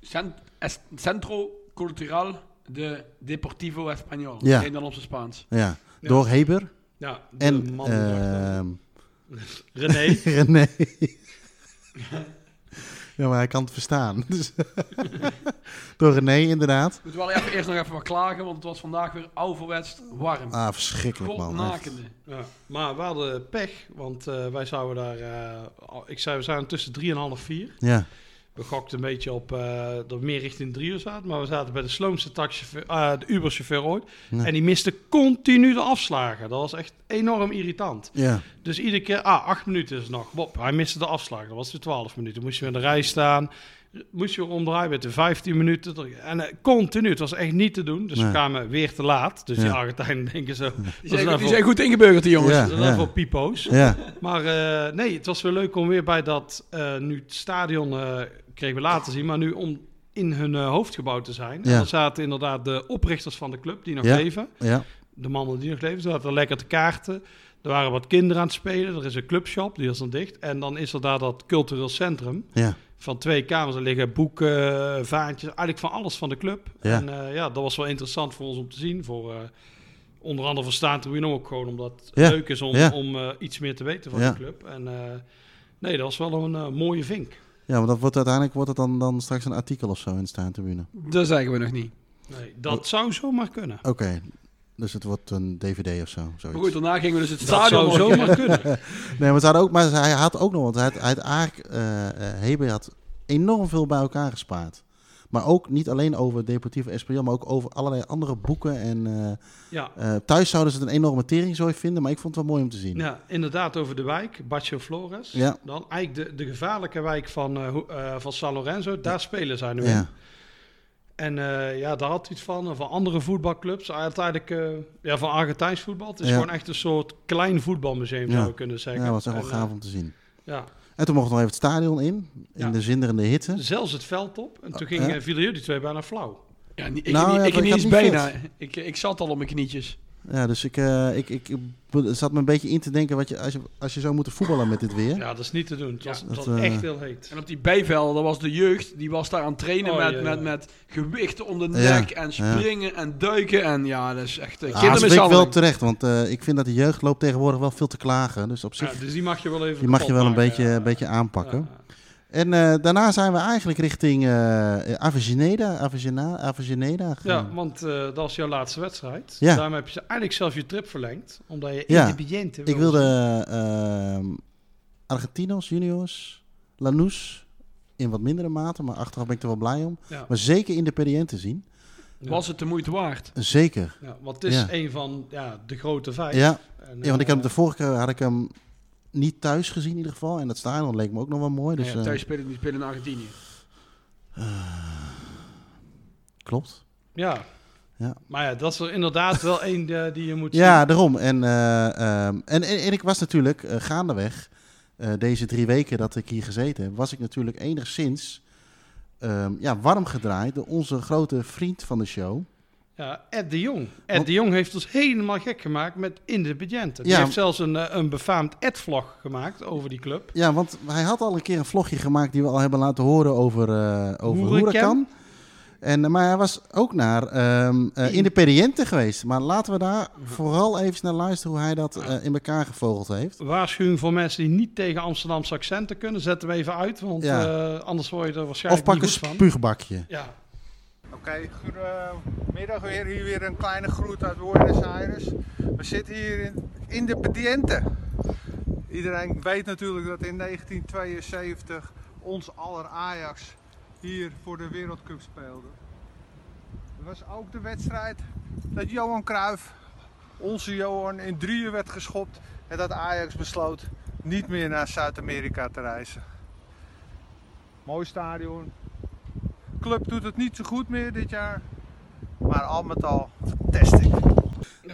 C: Cent- es- Centro Cultural de Deportivo Español.
B: Ja.
C: Geen dan op zijn Spaans.
B: Ja,
A: Ja.
B: door Heber
A: ja de
B: en
A: man dacht, eh,
B: ehm,
A: René.
B: René. ja, maar hij kan het verstaan. Dus Door René, inderdaad.
C: Moeten we wel even, eerst nog even wat klagen, want het was vandaag weer ouderwets warm.
B: Ah, verschrikkelijk, man. Echt.
C: Godnakende.
A: Ja, maar we hadden pech, want eh, wij zouden daar... eh, al- ik zei, we zijn tussen 3,5 4.
B: Ja,
A: We gokten een beetje op eh, dat we meer richting drie uur zaten. Maar we zaten bij de sloomste taxichauffeur, eh, de Uberchauffeur ooit.
B: Ja.
A: En die miste continu de afslagen. Dat was echt enorm irritant.
B: ja.
A: Dus iedere keer, ah, acht minuten is het nog. Wop, hij miste de afslagen. Dat was de twaalf minuten. Moest je weer in de rij staan. Moest je weer omdraaien met de vijftien minuten. En eh, continu, het was echt niet te doen. Dus
B: Nee.
A: we kwamen weer te laat. Dus
B: Ja.
A: die Argentijnen denken zo...
C: Die
A: "Wat is
C: zijn,
A: nou
C: die
A: voor-
C: zijn goed ingeburgerd, die jongens.
B: Ja.
A: wat is nou voor pipo's.
B: ja.
A: Maar eh, nee, het was wel leuk om weer bij dat... eh, nu het stadion eh, kregen we later zien, maar nu om in hun eh, hoofdgebouw te zijn. En
B: Ja.
A: daar zaten inderdaad de oprichters van de club die nog
B: Ja.
A: leven.
B: ja.
A: De mannen die nog leven. Ze zaten lekker te kaarten. Er waren wat kinderen aan het spelen. Er is een clubshop, die is dan dicht. En dan is er daar dat cultureel centrum
B: ja.
A: van twee kamers. Er liggen boeken, vaantjes, eigenlijk van alles van de club.
B: Ja.
A: En eh, ja, dat was wel interessant voor ons om te zien. Voor, eh, onder andere voor Staantribune ook gewoon, omdat het
B: Ja.
A: leuk is om,
B: Ja.
A: om eh, iets meer te weten van
B: Ja.
A: de club. En eh, nee, dat was wel een eh, mooie vink.
B: Ja, maar dat wordt uiteindelijk wordt het dan, dan straks een artikel of zo in de staantribune.
C: Dat zeggen we nog niet.
A: Nee, dat zou zomaar kunnen.
B: Oké, dus het wordt een DVD of zo.
C: Maar
B: Zoiets.
C: goed, daarna gingen we dus het
A: Dat zou
C: stadion zo
A: zomaar kunnen.
B: Nee, maar, ze hadden ook, maar hij had ook nog, want hij had, hij had eigenlijk, eh, eh, Heber had enorm veel bij elkaar gespaard. Maar ook niet alleen over Deportivo Espanyol, maar ook over allerlei andere boeken. En eh,
A: Ja.
B: eh, thuis zouden ze het een enorme teringzooi vinden, maar ik vond het wel mooi om te zien.
A: Ja, inderdaad, over de wijk, Baccio Flores.
B: Ja.
A: Dan eigenlijk de, de gevaarlijke wijk van, eh, ho- eh, van San Lorenzo, daar spelen zij nu in.
B: Ja,
A: En eh, ja, daar had hij het van, eh, van andere voetbalclubs. Uiteindelijk eh, ja, van Argentijns voetbal. Het is
B: Ja.
A: gewoon echt een soort klein voetbalmuseum,
B: Ja.
A: zou je kunnen zeggen.
B: ja dat was echt wel
A: En, eh,
B: gaaf om te zien.
A: ja.
B: En toen mochten we nog even het stadion in, in
A: Ja.
B: de zinderende hitte.
A: Zelfs het veld op. En toen
B: Eh,
A: gingen,
B: eh?
A: vielen jullie twee bijna flauw.
C: Ja, niet- ik
B: Nou,
C: niet,
B: ja,
C: ik
B: ik
C: niet
B: had
C: eens
B: niet
C: bijna. Ik, ik zat al op mijn knietjes.
B: Ja, dus ik, eh, ik, ik, ik be- zat me een beetje in te denken, wat je, als, je, als je zou moeten voetballen met dit weer.
A: Ja, dat is niet te doen. Het was,
C: Ja.
A: het was
B: Dat, eh,
A: echt heel heet.
C: En op die bijvelden, dat was de jeugd, die was daar aan het trainen
A: Oh,
C: met,
A: ja, ja.
C: met, met gewichten om de
B: Ja,
C: nek en
B: ja.
C: springen en duiken. En ja, dat is echt eh,
B: Ah, dat vind ik wel
C: kindermishandeling.
B: terecht, want eh, ik vind dat de jeugd loopt tegenwoordig wel veel te klagen. Dus op
A: Ja,
B: zich,
A: dus die mag je wel even
B: die mag je
A: kapot
B: wel een
A: maken.
B: beetje, een beetje
A: Ja.
B: aanpakken. En eh, daarna zijn we eigenlijk richting eh Avigeneda, Avigeneda, Avigeneda
A: Ja,
B: gegaan.
A: want eh, dat was jouw laatste wedstrijd.
B: Ja.
A: Daarom heb je eigenlijk zelf je trip verlengd. Omdat je
B: Ja.
A: ingrediënten
B: ik wilde ehm, Argentinos, Juniors, Lanús in wat mindere mate, maar achteraf ben ik er wel blij om.
A: Ja.
B: Maar zeker in de Periënten zien.
A: Ja.
C: Was het de moeite waard?
B: Zeker.
A: Ja, want het is
B: Ja.
A: een van ja, de grote vijf.
B: Ja,
A: En,
B: ja, want ik
A: eh,
B: heb hem de vorige keer had ik hem niet thuis gezien in ieder geval. En dat stadion leek me ook nog wel mooi. Dus,
C: Nee, ja,
B: eh,
C: thuis spelen die spelen in Argentinië.
B: Klopt.
A: Ja.
B: Ja.
A: Maar ja, dat is er inderdaad wel één eh, die je moet
B: Ja, daarom. En, eh, ehm, en, en, en ik was natuurlijk eh, gaandeweg, eh, deze drie weken dat ik hier gezeten heb, was ik natuurlijk enigszins ehm, ja, warm gedraaid door onze grote vriend van de show,
A: zien. Ja, Ed de Jong. Ed de Jong heeft ons helemaal gek gemaakt met Independiente. Die
B: Ja.
A: heeft zelfs een, eh, een befaamd Ed-vlog gemaakt over die club.
B: Ja, want hij had al een keer een vlogje gemaakt die we al hebben laten horen over, eh over
A: Huracan.
B: Huracan. En, eh, maar hij was ook naar ehm eh Independiente geweest. Maar laten we daar vooral even naar luisteren hoe hij dat eh, in elkaar gevogeld heeft.
A: Waarschuwing voor mensen die niet tegen Amsterdamse accenten kunnen. Zet hem even uit, want
B: Ja.
A: eh, anders word je er
B: Of
A: waarschijnlijk
B: pak een
A: niet goed van.
B: spuugbakje.
A: Ja,
D: Oké, goedemiddag weer. Hier weer een kleine groet uit Buenos Aires. We zitten hier in Independiente. Iedereen weet natuurlijk dat in 1972 ons aller Ajax hier voor de Wereldcup speelde. Het was ook de wedstrijd dat Johan Cruijff, onze Johan, in drieën werd geschopt. En dat Ajax besloot niet meer naar Zuid-Amerika te reizen. Mooi stadion, club doet het niet zo goed meer dit jaar. Maar al met al, fantastisch.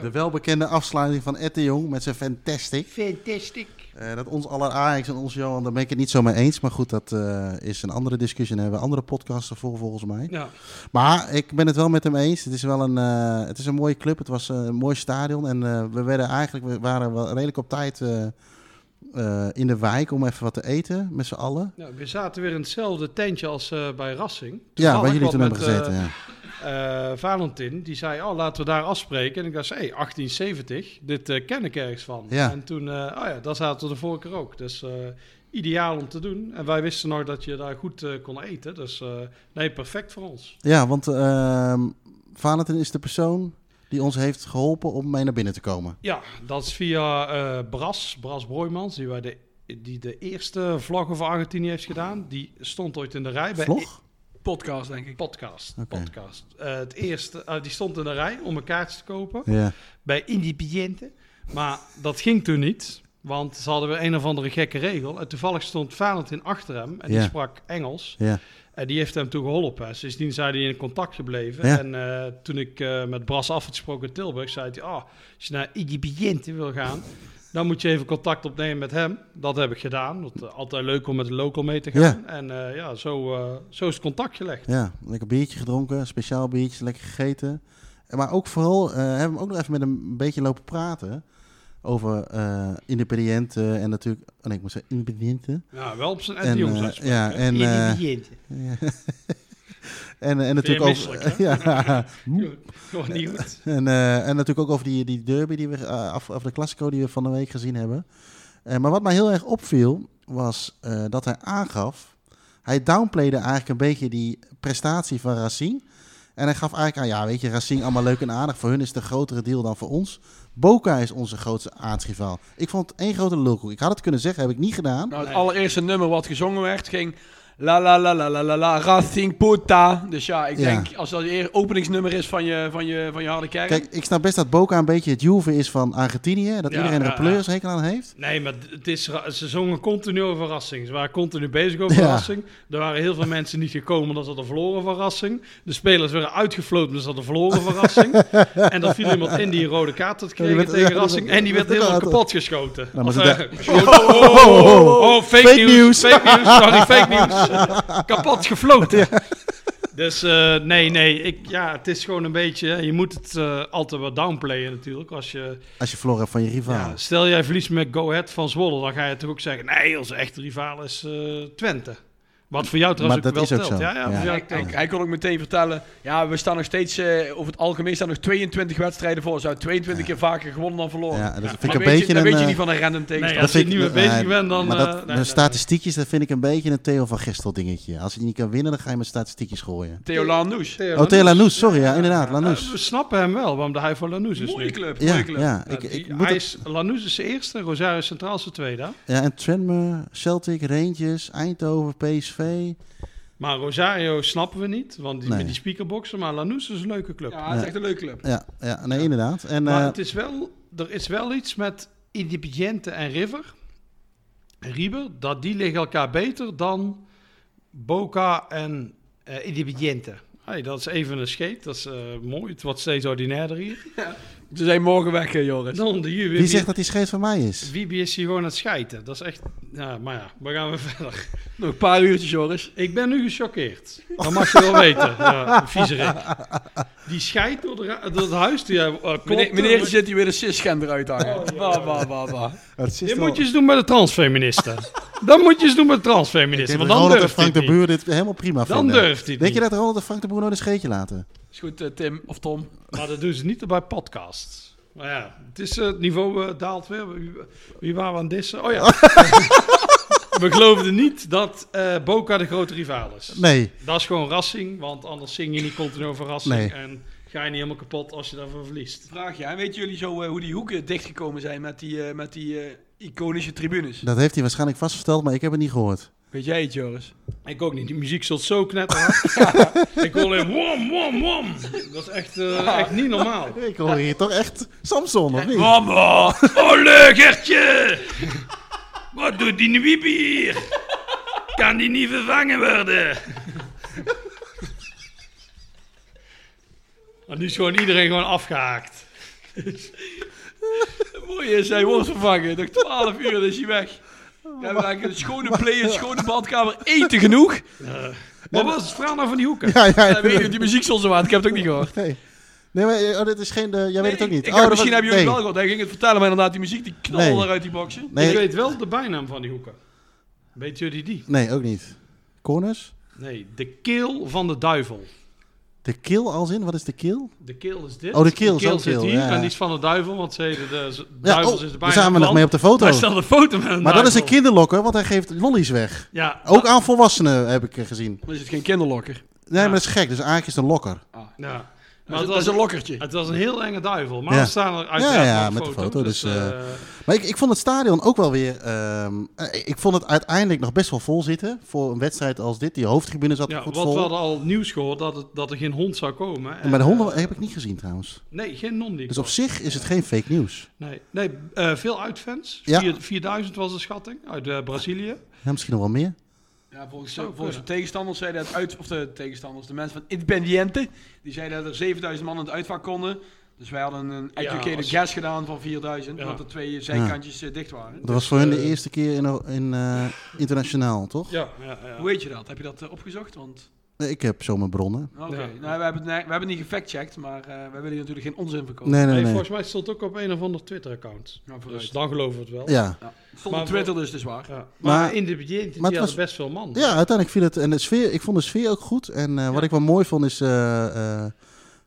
B: De welbekende afsluiting van Ed de Jong met zijn Fantastic.
A: Fantastic.
B: Eh, dat ons aller Ajax en ons Johan, daar ben ik het niet zo mee eens. Maar goed, dat eh, is een andere discussie. Daar hebben we andere podcasts voor volgens mij.
A: Ja.
B: Maar ik ben het wel met hem eens. Het is wel een, eh, het is een mooie club. Het was eh, een mooi stadion. En eh, we werden eigenlijk, we waren wel redelijk op tijd eh, eh, in de wijk om even wat te eten met z'n allen.
A: Nou, we zaten weer in hetzelfde tentje als eh, bij Rassing.
B: Ja, waar
A: Toevallig,
B: jullie toen
A: want
B: hebben
A: met,
B: gezeten.
A: eh,
B: ja.
A: eh, Valentin, die zei, oh, laten we daar afspreken. En ik dacht, hé, 1870, dit eh, ken ik ergens van.
B: Ja.
A: En toen, eh, oh ja, daar zaten we de vorige keer ook. Dus eh, ideaal om te doen. En wij wisten nog dat je daar goed eh, kon eten. Dus eh, nee, perfect voor ons.
B: Ja, want ehm Valentin is de persoon die ons heeft geholpen om mee naar binnen te komen.
A: Ja, dat is via eh, Bras, Bras Broijmans, die, wij de, die de eerste vlog over Argentinië heeft gedaan. Die stond ooit in de rij bij
B: Vlog?
C: Podcast, denk ik.
A: Podcast.
B: Oké.
A: podcast. Eh, het eerste, eh, die stond in de rij om een kaartje te kopen
B: Ja.
A: bij Independiente. Maar dat ging toen niet, want ze hadden weer een of andere gekke regel. En toevallig stond Valentin achter hem en
B: Ja.
A: die sprak Engels.
B: ja.
A: En die heeft hem toen geholpen. Sindsdien zijn die in contact gebleven.
B: Ja.
A: En eh, toen ik eh, met Bras af had gesproken in Tilburg, zei hij... ah, als je naar Independiente wil gaan, dan moet je even contact opnemen met hem. Dat heb ik gedaan. Want, eh, altijd leuk om met de local mee te gaan. En eh, ja, zo, eh, zo is het contact gelegd.
B: Ja, lekker biertje gedronken, speciaal biertje, lekker gegeten. Maar ook vooral, eh, hebben we hem ook nog even met een beetje lopen praten over eh independiënten en natuurlijk... Oh nee, ik moet zeggen independiënten.
A: Ja, wel op zijn
B: En,
A: en, jongens
B: eh,
A: uitspraak,
B: ja,
A: hè?
B: en, eh,
A: Independiente.
B: En, en natuurlijk
A: misselijk,
B: over... Ja,
A: Gewoon niet goed.
B: en, eh, en natuurlijk ook over die, die derby, die we, eh, af, of de Classico die we van de week gezien hebben. Eh, maar wat mij heel erg opviel, was eh, dat hij aangaf... Hij downplayde eigenlijk een beetje die prestatie van Racing. En hij gaf eigenlijk aan, ja weet je, Racing allemaal leuk en aardig. Voor hun is het een grotere deal dan voor ons. Boca is onze grootste aardsrivaal. Ik vond het één grote lulkoek. Ik had het kunnen zeggen, heb ik niet gedaan.
C: Nou, het
A: Nee.
C: allereerste nummer wat gezongen werd ging... La la la la la la la, Racing Puta. Dus ja, ik
B: Ja.
C: denk als dat je eer- openingsnummer is van je, van je, van je harde kerk.
B: Kijk, ik snap best dat Boca een beetje het Juve is van Argentinië. Dat
A: Ja,
B: iedereen er
A: ja,
B: een pleurishekel aan heeft.
A: Nee, maar het is, ra- ze zongen continu over Rassing. Ze waren continu bezig over
B: Ja.
A: Rassing. Er waren heel veel mensen niet gekomen, omdat ze hadden verloren van Rassing. De spelers werden uitgefloten, omdat ze hadden verloren van Rassing. en dan viel iemand in die een rode kaart had gekregen
B: Ja, die werd-
A: tegen
B: ja,
A: Rassing.
B: die werd-
A: En die werd
B: die werd
A: helemaal kapot
B: inderdaad-
A: geschoten.
B: maar
A: Of,
B: ze
A: eh,
B: da-
A: geschoten. Oh, oh, oh, oh, oh, oh, fake,
B: Fake
A: news, Fake news, sorry, fake news. kapot gefloten. Dus eh, nee, nee, ik, ja, het is gewoon een beetje, hè, je moet het eh, altijd wel downplayen natuurlijk. Als je
B: Als je verloren hebt van je rivaal.
A: ja, stel jij verliest met Go Ahead van Zwolle, dan ga je toch ook zeggen: nee, onze echte rivaal is eh, Twente. Wat voor jou trouwens
B: Maar
A: ook
B: dat
A: wel
B: is ook
A: telt.
B: zo.
A: Ja, ja,
B: Ja.
A: voor jou
C: Hij-
A: telt.
C: hij, hij kon ook meteen vertellen, ja, we staan nog steeds, eh, over het algemeen staan nog 22 wedstrijden voor. Ze hebben 22 keer vaker gewonnen dan verloren.
B: Ja, dat vind ik
C: Maar
B: een
C: weet
B: beetje
C: je, dan
B: een,
C: weet je
B: eh,
C: niet van een random tegenstander.
A: Nee, als
B: Dat
A: je
B: vind
A: niet
B: ik-
A: meer bezig
B: nee,
A: bent, dan...
B: Maar
A: eh,
B: dat,
A: nee,
B: de
A: nee, nee.
B: statistiekjes, dat vind ik een beetje een Theo van Gestel dingetje. Als je niet kan winnen, dan ga je met statistiekjes gooien.
C: Theo Lanús.
A: Theo
B: Oh, Theo
A: Lanús.
B: Lanús, sorry, ja, inderdaad,
A: Eh,
B: Lanús.
A: we snappen hem wel, waarom hij voor Lanús is
C: Mooie
A: nu.
C: club,
B: Ja,
C: mooie club.
B: ja,
A: Ja,
B: ik, ik
A: die-
B: moet
A: hij
B: het-
A: is, Lanús is de eerste, Rosario Centraal is de tweede.
B: ja, en Tranmere, Celtic, Rangers, Eindhoven, PSV.
A: Maar Rosario snappen we niet, want die,
B: Nee.
A: met die speakerboxen. Maar Lanús is een leuke club.
C: Ja, het is echt een leuke club.
B: Ja, ja nee, inderdaad. En,
A: Maar
B: eh,
A: het is wel, er is wel iets met Independiente en River. en River, dat die liggen elkaar beter dan Boca en eh Independiente. Hey, dat is even een scheet. Dat is eh, mooi. Het wordt steeds ordinairder hier.
C: Ze zijn morgen weg, hè, Joris.
A: Dan de hier weer.
B: Wie zegt dat die scheet van mij is?
A: Wiebe is hier gewoon aan het schijten. Dat is echt... Ja, maar ja, we gaan weer verder.
C: Nog een paar uurtjes, Joris.
A: Ik ben nu gechoqueerd. Dat mag je wel weten. Ja, vieze Rick. Die scheidt door, de ra- door het huis. Die, eh, klopt.
C: Meneer, meneer zit hier weer een cisgender uit te
B: Oh,
C: hangen. Bah, bah, bah, bah.
B: Het zit
A: Dit
B: er
A: moet
B: al-
A: je eens doen bij de transfeministen. dat moet je eens doen bij de
B: Ik
A: transfeministen.
B: denk
A: Want
B: dat
A: dan
B: Ronald en
A: durft hij
B: Frank de
A: het
B: Boer dit helemaal prima
A: Dan
B: vinden.
A: durft hij het
B: Denk je
A: niet.
B: dat Ronald en Frank de Boer nooit een scheetje laten?
C: Is goed, eh, Tim of Tom.
A: niet. Maar dat doen ze niet bij podcasts. Maar ja, het, is, eh, het niveau eh, daalt weer. Wie, wie waren we aan dissen? Oh ja. we geloofden niet dat eh, Boca de grote rivaal is.
B: Nee.
A: Dat is gewoon rassing, want anders zing je niet continu over rassing.
B: Nee.
A: En ga je niet helemaal kapot als je daarvan verliest.
C: Vraag je, hè, weten jullie zo eh, hoe die hoeken dichtgekomen zijn met die, eh, met die eh, iconische tribunes?
B: Dat heeft hij waarschijnlijk vastgesteld, maar ik heb het niet gehoord.
C: Weet jij het, Joris?
A: Ik ook niet. Die muziek zult zo knetterhard. Ik hoor alleen wom, wom, wom. Dat is echt, eh, echt niet normaal.
B: Ik hoor hier toch echt Samson, of niet?
C: Mama!
A: Olle Gertje! oh, Wat doet die wiep hier? Kan die niet vervangen worden? En nu is gewoon iedereen gewoon afgehaakt.
C: Mooi is, hij wordt vervangen. Nog 12 uur is hij weg. We hebben eigenlijk een
B: Oh,
C: schone play, een schone badkamer. Eten genoeg.
A: Wat was het verhaal nou van die hoeken?
B: Ja, ja,
C: Ja, weet je, die muziek stond zo aan. Ik heb het ook niet gehoord.
B: nee. Nee, maar eh, oh, dit is geen... eh, jij weet het ook niet.
C: Ik,
B: oh, dat
C: misschien
B: was-
C: hebben jullie
B: nee.
C: wel gehoord. Hij ging het vertellen, maar inderdaad, die muziek die knalde
B: Nee.
C: eruit die boxen.
A: Ik
B: Nee,
A: weet wel de bijnaam van die hoeken. Weet jullie die?
B: nee, ook niet. Corners?
A: Nee, de keel van de duivel.
B: De keel als in? Wat is de keel?
A: De keel is dit.
B: Oh, de keel, zo'n
A: zit
B: keel,
A: hier
B: ja.
A: en die is van de duivel, want ze heten de z-
B: Ja,
A: duivels is de
B: oh, daar
A: bijnaam
B: zijn we nog
A: van.
B: mee op de foto.
A: Hij stelde een foto met een
B: Maar dat is een
A: duivel.
B: kinderlokker, want hij geeft lollies weg.
A: Ja,
C: Ah.
B: Ook aan volwassenen heb ik eh, gezien.
C: Dan is het geen kinderlokker.
B: Nee, maar dat is gek. Dus eigenlijk is het een lokker.
A: Ja.
C: Maar
A: Maar
C: dat, dat is
A: het was,
C: een lokkertje.
A: het was een heel enge duivel. Maar
B: Ja.
A: we staan er uiteraard
B: Ja, ja,
A: wel
B: met de foto, dus,
A: eh,
B: Maar ik, ik vond het stadion ook wel weer... ehm, eh, ik vond het uiteindelijk nog best wel vol zitten. Voor een wedstrijd als dit. Die hoofdtribune zat
A: ja,
B: goed
A: want
B: vol.
A: we hadden al nieuws gehoord dat, het, dat er geen hond zou komen. En,
B: Maar de honden
A: eh,
B: heb ik niet gezien trouwens.
A: nee, geen non die
B: Dus op zich is het geen fake nieuws.
A: Nee, nee eh, veel uitfans.
B: Ja.
A: Vier- 4000 was de schatting uit eh, Brazilië.
B: Ja, misschien nog wel meer.
C: Ja, volgens,
A: Zou
C: volgens de
A: kunnen.
C: tegenstanders zeiden het uit, of de tegenstanders, de mensen van Independiente, die zeiden dat er 7000 man in het uitvak konden. Dus wij hadden een educated
A: als-
C: guess gedaan van 4000,
A: Ja.
C: omdat er twee zijkantjes eh, dicht waren.
B: Dat was voor hun de
A: eh,
B: eerste keer in, in, eh, internationaal, toch?
A: Ja, ja, ja.
C: Hoe weet je dat? Heb je dat eh, opgezocht? Want,
B: Nee, Ik heb zomaar bronnen.
C: oké,
A: Ja.
C: nou, we hebben, het, ne- we hebben het niet gefactcheckt, maar eh, wij willen hier natuurlijk geen onzin verkopen.
B: Nee,
A: Nee,
B: nee, nee.
A: Volgens mij stond het ook op een of ander Twitter-account.
C: Nou, vooruit.
A: Dus dan geloven we het wel.
B: Ja.
C: Ja. Het Stond op
A: Maar
C: Twitter dus, dus waar.
A: Ja. Maar,
B: Maar-
A: in de begin, die
B: maar het
A: hadden
B: was-
A: best veel man.
B: ja, uiteindelijk viel het. En de sfeer, ik vond de sfeer ook goed. En eh, wat ik wel mooi vond is. eh eh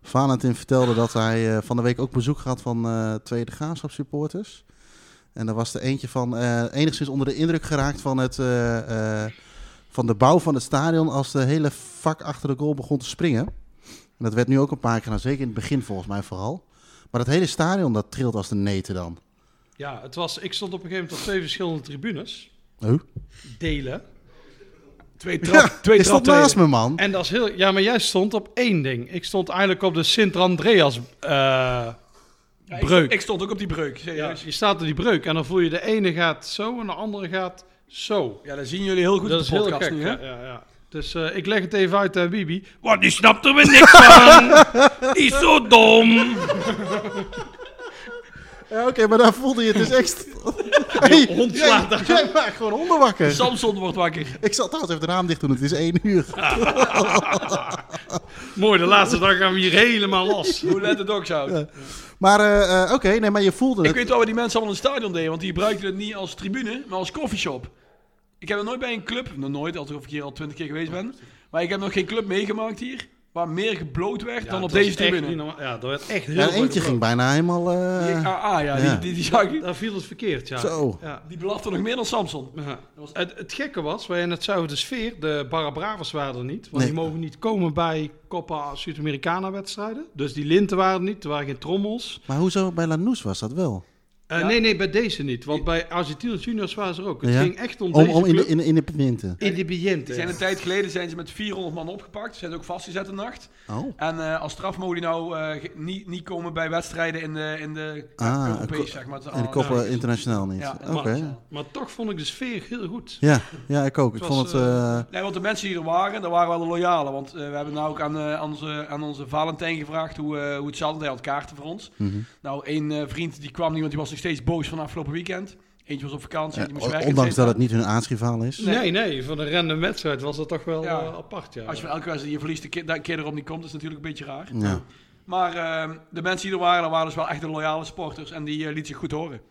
B: Valentin vertelde dat hij eh, van de week ook bezoek had van eh, Tweede Graafschap supporters. En daar was er eentje van eh, enigszins onder de indruk geraakt van, het, eh, eh, van de bouw van het stadion. als de hele vak achter de goal begon te springen. En dat werd nu ook een paar keer gedaan, zeker in het begin volgens mij vooral. Maar dat hele stadion dat trilt als de neten dan.
A: Ja, het was, ik stond op een gegeven moment op twee verschillende tribunes.
B: Huh?
A: Delen.
C: Twee trap,
B: Ja,
C: twee
B: je stond
C: traptreden.
B: naast me, man.
A: En dat is heel. Ja, maar jij stond op één ding. Ik stond eigenlijk op de Sint-Andreas. eh,
C: Ja, ik-
A: Breuk.
C: Ik stond ook op die breuk,
A: ja,
C: serieus. Ja,
A: je staat in die breuk en dan voel je de ene gaat zo en de andere gaat zo.
C: dan zien jullie heel goed
A: dat
C: op
A: is
C: de
A: heel
C: podcast
A: gek.
C: nu, hè?
A: ja, ja, ja. Dus eh, ik leg het even uit aan Bibi. Want die snapt er weer niks van. Die is zo dom.
B: Ja, Oké, maar daar voelde je het dus echt. Hey,
A: hond
B: jij-
A: slaat daar.
B: Jij maakt gewoon honden wakker.
C: Samson wordt wakker.
B: Ik zal trouwens even de raam dicht doen, het is één uur.
A: Mooi, de laatste dag gaan we hier helemaal los.
C: Hoe let the dogs out.
B: Maar eh, eh, oké, nee, maar je voelde
C: Ik
B: het.
C: weet wel waar die mensen allemaal in het stadion deden, want die gebruikten het niet als tribune, maar als coffeeshop. Ik heb er nooit bij een club, nog nooit, alsof ik hier al twintig keer geweest ben, maar ik heb nog geen club meegemaakt hier waar meer gebloot werd
A: Ja,
C: dan op
A: het was
C: deze
A: echt niet
C: tribune.
A: normaal. Ja, dat werd echt heel
B: Ja,
A: mooi
B: eentje ging
A: gebroken.
B: bijna helemaal. eh,
C: Die- ah, ah, ja,
B: ja.
C: Die, die, die zag ik.
A: Daar viel het verkeerd, ja.
B: Zo.
A: Ja.
C: Die belafte nog meer dan Samson.
A: Ja. Het, het gekke was, wij in het zuiden de sfeer, de Barabravers waren er niet. Want
B: Nee.
A: die mogen niet komen bij Copa Sudamericana wedstrijden. Dus die linten waren er niet, er waren geen trommels.
B: Maar hoezo bij Lanús was dat wel?
A: Eh,
C: Ja.
A: Nee, nee, bij deze niet. Want bij Argentinos Juniors waren ze er ook. Het
B: Ja.
A: ging echt om,
B: Om,
A: deze
B: om in, de,
A: club.
B: in, in de pimenten.
A: in de
C: Die zijn een tijd geleden zijn ze met 400 man opgepakt. Ze zijn ook vastgezet de nacht.
B: Oh.
C: En eh, als straf mogen die nou eh, ge- niet, niet komen bij wedstrijden in de, in de
B: Ah,
C: ja,
B: een
C: Europees,
B: ko-
C: zeg maar. Het is
B: En de
C: allemaal-
B: koppen
C: ja.
B: internationaal niet.
C: Ja,
B: Oké.
C: internationaal.
A: Maar toch vond ik de sfeer heel goed.
B: Ja, ja, ik ook. Ik
A: Het was,
B: vond het...
A: eh,
B: eh,
C: Nee, want de mensen die er waren, daar waren wel de loyale. Want eh, we hebben nou ook aan, eh, aan, onze, aan onze Valentijn gevraagd hoe, eh, hoe het zat. want Hij had kaarten voor ons.
B: mhm.
C: Nou, één eh, vriend die kwam niet, want die was nog steeds boos van afgelopen weekend. Eentje was op vakantie, die moest
B: Ja,
C: werken.
B: ondanks
C: et cetera.
B: dat het niet hun aardsrivaal is.
C: Nee.
A: Nee, nee, van een random wedstrijd was dat toch wel
C: Ja.
A: eh, apart. Ja.
C: Als je van elke wedstrijd die je verliest, de keer, de keer erop niet komt, is natuurlijk een beetje raar.
B: Ja.
C: Maar eh, de mensen die er waren, dat waren dus wel echt de loyale sporters. En die eh, liet zich goed horen.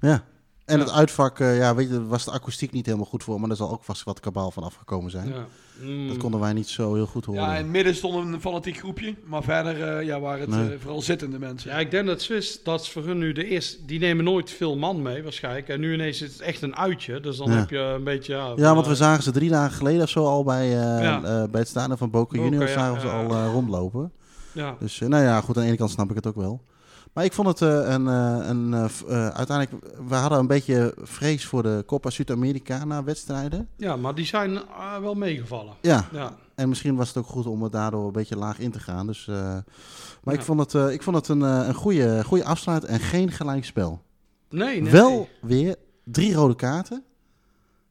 B: ja. En het uitvak, eh, ja, weet je, daar was de akoestiek niet helemaal goed voor. Maar daar zal ook vast wat kabaal van afgekomen zijn.
A: Ja. Mm.
B: Dat konden wij niet zo heel goed horen.
C: Ja, in het midden stond een fanatiek groepje. Maar verder eh, ja, waren het
B: Nee.
C: eh, vooral zittende mensen.
A: Ja, ik denk dat Swiss, dat is voor hun nu de eerste. Die nemen nooit veel man mee waarschijnlijk. En nu ineens is het echt een uitje. Dus dan
B: Ja.
A: heb je een beetje. Ja, eh,
B: Ja, want we zagen ze drie dagen geleden of zo al bij, eh,
A: Ja.
B: eh, bij het stadion van Boca
A: Boca,
B: Juniors.
A: ja,
B: zagen we ze
A: ja,
B: al eh, rondlopen.
A: Ja.
B: Dus eh, nou ja, goed, aan de ene kant snap ik het ook wel. Maar ik vond het eh, een, eh, een eh, v- eh, uiteindelijk, we hadden een beetje vrees voor de Copa Sudamericana wedstrijden.
A: ja, maar die zijn eh, wel meegevallen.
B: Ja,
A: Ja.
B: en misschien was het ook goed om het daardoor een beetje laag in te gaan. Dus, eh, maar ik
A: Ja.
B: vond het, eh, ik vond het een, eh, een goede, goede afsluit en geen gelijkspel.
A: Nee, nee.
B: Wel eh, weer drie rode kaarten.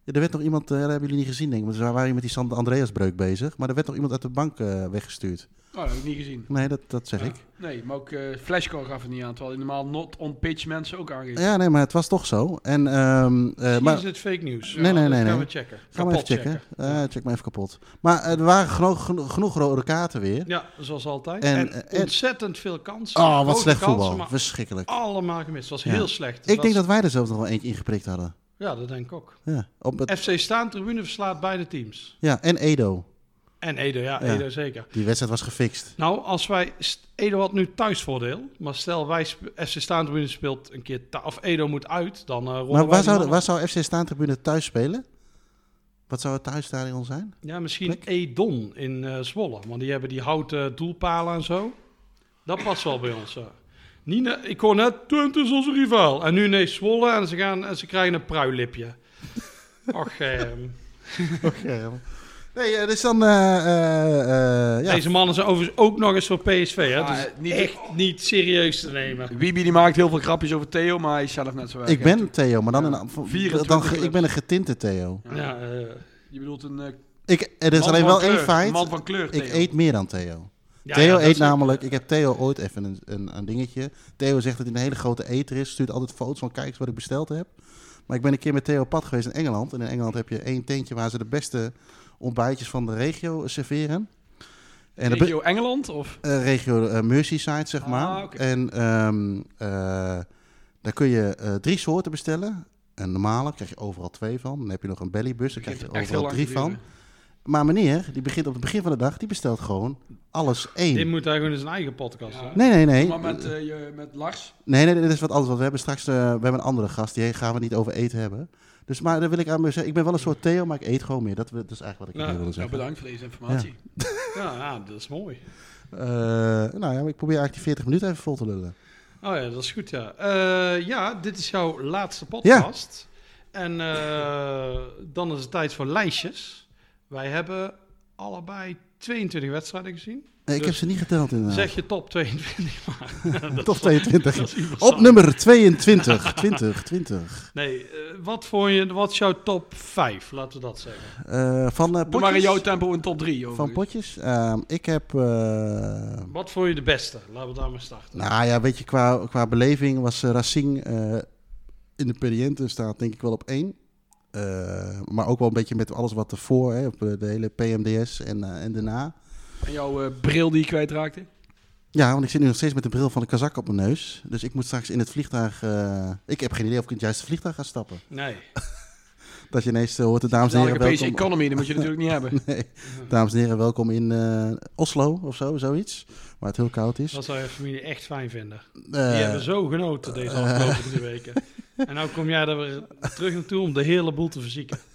B: Ja, er werd nog iemand, eh, dat hebben jullie niet gezien denk ik, want ze waren hier met die Sander Andreasbreuk bezig. Maar er werd nog iemand uit de bank eh, weggestuurd.
C: Nou, dat heb ik niet gezien.
B: Nee, dat, dat zeg
C: Ja.
B: ik.
C: Nee, maar ook eh Flashcore gaf het niet aan. Terwijl die normaal not on pitch mensen ook aangeeft.
B: Ja, nee, maar het was toch zo. En, ehm, eh,
A: Ah, Misschien
B: maar,
A: is het fake nieuws.
B: Nee, nee,
A: dat
B: nee,
A: Gaan
B: nee.
A: we checken.
B: Ga maar even
A: Kapot
B: checken. Eh, check maar even kapot. Maar eh, er waren genoeg, geno- genoeg rode kaarten weer.
A: Ja, zoals altijd.
B: En,
A: En,
B: eh, en-
A: ontzettend veel kansen.
B: Oh, wat
A: Grote
B: slecht
A: kansen,
B: voetbal.
A: maar
B: Verschrikkelijk.
A: allemaal gemist. Het was
B: Ja.
A: heel slecht. Het
B: ik denk
A: was-
B: dat wij er zelf nog wel eentje ingeprikt hadden.
A: Ja, dat denk ik ook.
B: Ja, op het,
A: FC Staantribune verslaat beide teams.
B: ja en Edo.
A: En Edo, ja,
B: Ja.
A: Edo zeker.
B: Die wedstrijd was gefixt.
A: Nou, als wij... st- Edo had nu thuisvoordeel. Maar stel, wij sp- FC Staantribune speelt een keer... thu- Of Edo moet uit, dan eh rollen wij
B: Maar waar
A: die
B: zou,
A: mannen-
B: waar zou FC Staantribune thuis spelen? Wat zou het thuisstadion zijn?
A: Ja, misschien Edon in eh, Zwolle. Want die hebben die houten doelpalen en zo. Dat past wel bij ons. ja. Niet ne- ik hoor net, Twente is onze rivaal. En nu nee, Zwolle. En ze, gaan, en ze krijgen een pruilipje. Och, ehm,
B: Nee, eh, dus dan... eh, eh, eh, ja.
A: deze mannen zijn overigens ook nog eens voor PSV. Hè?
C: Ah,
A: dus
C: eh, niet-
A: echt niet serieus te nemen.
C: Wiebe die maakt heel veel grapjes over Theo, maar hij is zelf net zo erg.
B: Ik ben Theo, maar dan,
C: Ja.
B: in, van-
C: 24
B: dan ge-
C: clubs.
B: ik ben een getinte Theo.
C: Ja.
A: Ja, eh,
C: Je bedoelt een eh,
B: Ik, er is
C: man
B: alleen
C: van
B: wel één
C: kleur, een
B: feit.
C: man van kleur,
B: Ik
C: Theo.
B: eet meer dan Theo.
A: ja, ja,
B: Theo
A: dat
B: eet
A: is-
B: namelijk, ik heb Theo ooit even een, een, een dingetje. Theo zegt dat hij een hele grote eter is, stuurt altijd foto's van kijk eens wat ik besteld heb. Maar ik ben een keer met Theo op pad geweest in Engeland. En in Engeland heb je één tentje waar ze de beste ontbijtjes van de regio serveren. En de be-
C: Regio Engeland? Of?
B: eh, regio eh, Merseyside, zeg
C: Ah,
B: maar.
C: oké.
B: En ehm, eh, daar kun je eh, drie soorten bestellen. Een normale, krijg je overal twee van. Dan heb je nog een bellybus, daar krijg je
C: Echt heel
B: overal
C: lang
B: drie van.
C: duren.
B: Maar meneer, die begint op het begin van de dag, die bestelt gewoon alles één.
A: Dit moet hij gewoon in zijn eigen podcast
C: Ja.
A: doen.
B: Nee, nee, nee.
C: Maar met, eh, je, met Lars.
B: Nee, nee, dit is wat anders. Want we hebben straks eh, we hebben een andere gast. Die gaan we niet over eten hebben. Dus maar daar wil ik aan zeggen. Ik ben wel een soort Theo, maar ik eet gewoon meer. Dat, we- dat is eigenlijk wat ik
A: Nou,
B: hier wilde
C: Nou,
B: zeggen.
C: bedankt voor deze informatie.
A: Ja, ja, dat is mooi.
B: Eh, nou ja, maar ik probeer eigenlijk die 40 minuten even vol te lullen.
A: Oh ja, dat is goed, ja. Eh, ja, dit is jouw laatste podcast. En eh, dan is het tijd voor lijstjes. Wij hebben allebei 22 wedstrijden gezien.
B: Nee, Eh, ik
A: Dus
B: heb ze niet geteld inderdaad.
A: Zeg je top 22, maar... dat
B: Top
A: is-
B: 22.
A: dat is überhaupt-
B: Op nummer 22. 20, 20.
A: Nee, eh, wat vond je... Wat is jouw top 5, laten we dat zeggen?
B: Eh, van eh,
C: Doe maar in jouw
B: potjes.
C: tempo een top 3.
B: Van potjes. Ehm, ik heb... eh,
A: Wat vond je de beste? Laten we daarmee starten.
B: nou ja, weet je, qua, qua beleving was eh, Racing eh, in de periënten staat denk ik wel op één. Eh, maar ook wel een beetje met alles wat ervoor, hè, op eh, de hele PMDS en, eh, en daarna.
C: En jouw eh, bril die je kwijtraakte.
B: Ja, want ik zit nu nog steeds met de bril van de kazak op mijn neus. Dus ik moet straks in het vliegtuig... eh, ik heb geen idee of ik in het juiste vliegtuig ga stappen.
A: Nee.
B: Dat je ineens eh, hoort de dames en
C: De
B: heren
C: Europese
B: welkom...
C: economy, dat moet je natuurlijk niet hebben.
B: Nee. Dames en heren, welkom in eh, Oslo of zo, zoiets. Waar het heel koud is.
A: Dat zou je familie echt fijn vinden. Die
B: Eh,
A: hebben zo genoten deze afgelopen drie weken. En nou kom jij er weer terug naartoe om de hele boel te verzieken.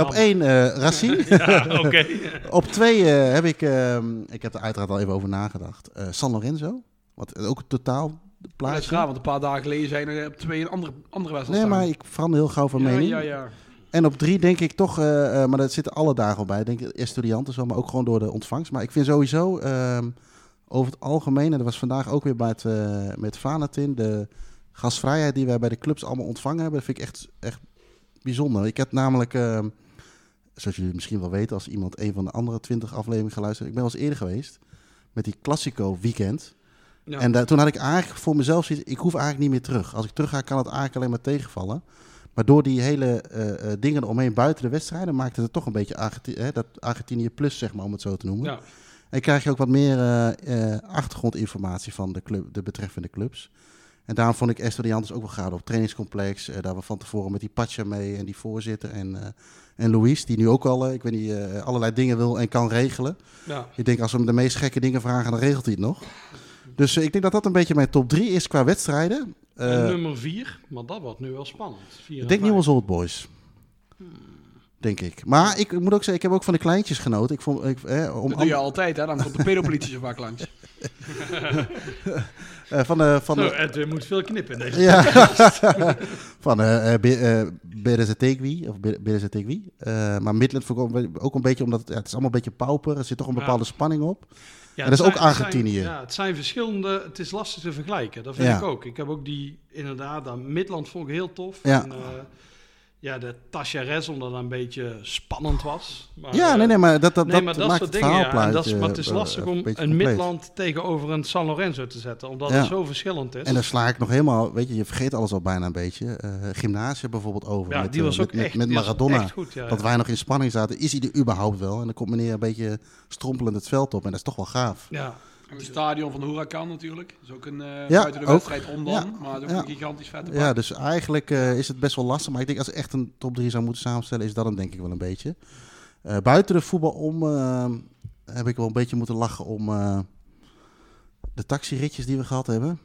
B: op één eh Racing.
A: Ja, oké.
B: Op twee eh, heb ik, ehm, ik heb er uiteraard al even over nagedacht. Eh, San Lorenzo, wat ook totaal
C: Dat is
B: plaatje.
C: raar, want een paar dagen geleden zijn er op twee een andere, andere wedstrijd
B: Nee, maar ik verander heel gauw van
C: ja,
B: mening.
C: ja, ja.
B: En op drie denk ik toch, eh, eh, maar dat zitten alle dagen al bij. Ik Denk Estudiantes wel, maar ook gewoon door de ontvangst. Maar ik vind sowieso ehm, over het algemeen, en dat was vandaag ook weer bij het, eh, met Fanatin, de gastvrijheid die wij bij de clubs allemaal ontvangen hebben, dat vind ik echt, echt bijzonder. Ik heb namelijk, ehm, zoals jullie misschien wel weten, als iemand een van de andere twintig afleveringen geluisterd, heeft, ik ben wel eens eerder geweest met die Classico weekend.
A: Ja.
B: En daar- toen had ik eigenlijk voor mezelf zoiets, ik hoef eigenlijk niet meer terug. Als ik terug ga, kan het eigenlijk alleen maar tegenvallen. Maar door die hele eh, eh, dingen omheen buiten de wedstrijden maakte het toch een beetje Argenti- hè, dat Argentinië plus, zeg maar, om het zo te noemen.
A: Ja.
B: En krijg je ook wat meer eh, eh, achtergrondinformatie van de, club, de betreffende clubs. En daarom vond ik Estudiantes ook wel gaaf op trainingscomplex. eh, daar we van tevoren met die Pacha mee en die voorzitter en, eh, en Luis, die nu ook al, eh, ik weet niet, eh, allerlei dingen wil en kan regelen.
A: Ja.
B: Ik denk als we hem de meest gekke dingen vragen, dan regelt hij het nog. Dus eh, ik denk dat dat een beetje mijn top 3 is qua wedstrijden. Eh,
A: En nummer 4, maar dat wordt nu wel spannend. Vier
B: ik
A: en vijf.
B: denk Newell's Old Boys. Denk ik. Maar ik moet ook zeggen, ik heb ook van de kleintjes genoten. Ik vond, ik, eh, om
C: Dat doe je altijd, hè? Dan komt de pedopolitie zo vaak langs.
B: eh, van de, van
A: Zo,
B: de,
A: Nou, Ed, je moet veel knippen in deze.
B: ja. van eh eh, Be- eh, Berezetegui, of Be- Berezetegui. Eh, maar Midland vond ik ook- ook een beetje, omdat het, ja, het is allemaal een beetje pauper. Er zit toch een
A: Ja.
B: bepaalde spanning op.
A: Ja,
B: En dat is
A: het
B: ook
A: zijn- het
B: Argentinië.
A: zijn- Ja, het zijn verschillende, het is lastig te vergelijken, dat vind
B: Ja.
A: ik ook. Ik heb ook die, inderdaad, dat Midland vond ik heel tof.
B: Ja.
A: En, eh, ja, de Tachares, omdat dat een beetje spannend was. Maar,
B: ja,
A: eh,
B: nee, nee, maar dat, dat,
A: nee,
B: dat
A: maar
B: maakt
A: dat soort
B: het
A: dingen, ja. En
B: verhaalplaatje,
A: dat is, maar het is
B: eh,
A: lastig
B: een
A: om
B: beetje
A: een
B: compleet.
A: Midland tegenover een San Lorenzo te zetten, omdat
B: Ja.
A: het zo verschillend is.
B: En daar sla ik nog helemaal, weet je, je vergeet alles al bijna een beetje. Eh gymnasium bijvoorbeeld over.
A: ja,
B: met,
A: die
B: eh,
A: was ook
B: met,
A: echt,
B: met
A: die was
B: Maradona.
A: echt goed, ja,
B: Dat
A: ja.
B: wij nog in spanning zaten. Is hij er überhaupt wel? En dan komt meneer een beetje strompelend het veld op. En dat is toch wel gaaf.
A: Ja.
C: En Het stadion van de Huracan natuurlijk. Dat is ook een eh
B: Ja,
C: buiten de
B: ook.
C: wedstrijd om dan.
B: Ja,
C: Maar dat is ook
B: ja.
C: een gigantisch vette bak.
B: Ja, dus eigenlijk eh, is het best wel lastig. Maar ik denk als ik echt een top 3 zou moeten samenstellen, is dat hem denk ik wel een beetje. Eh, buiten de voetbal om eh, heb ik wel een beetje moeten lachen om eh, de taxiritjes die we gehad hebben.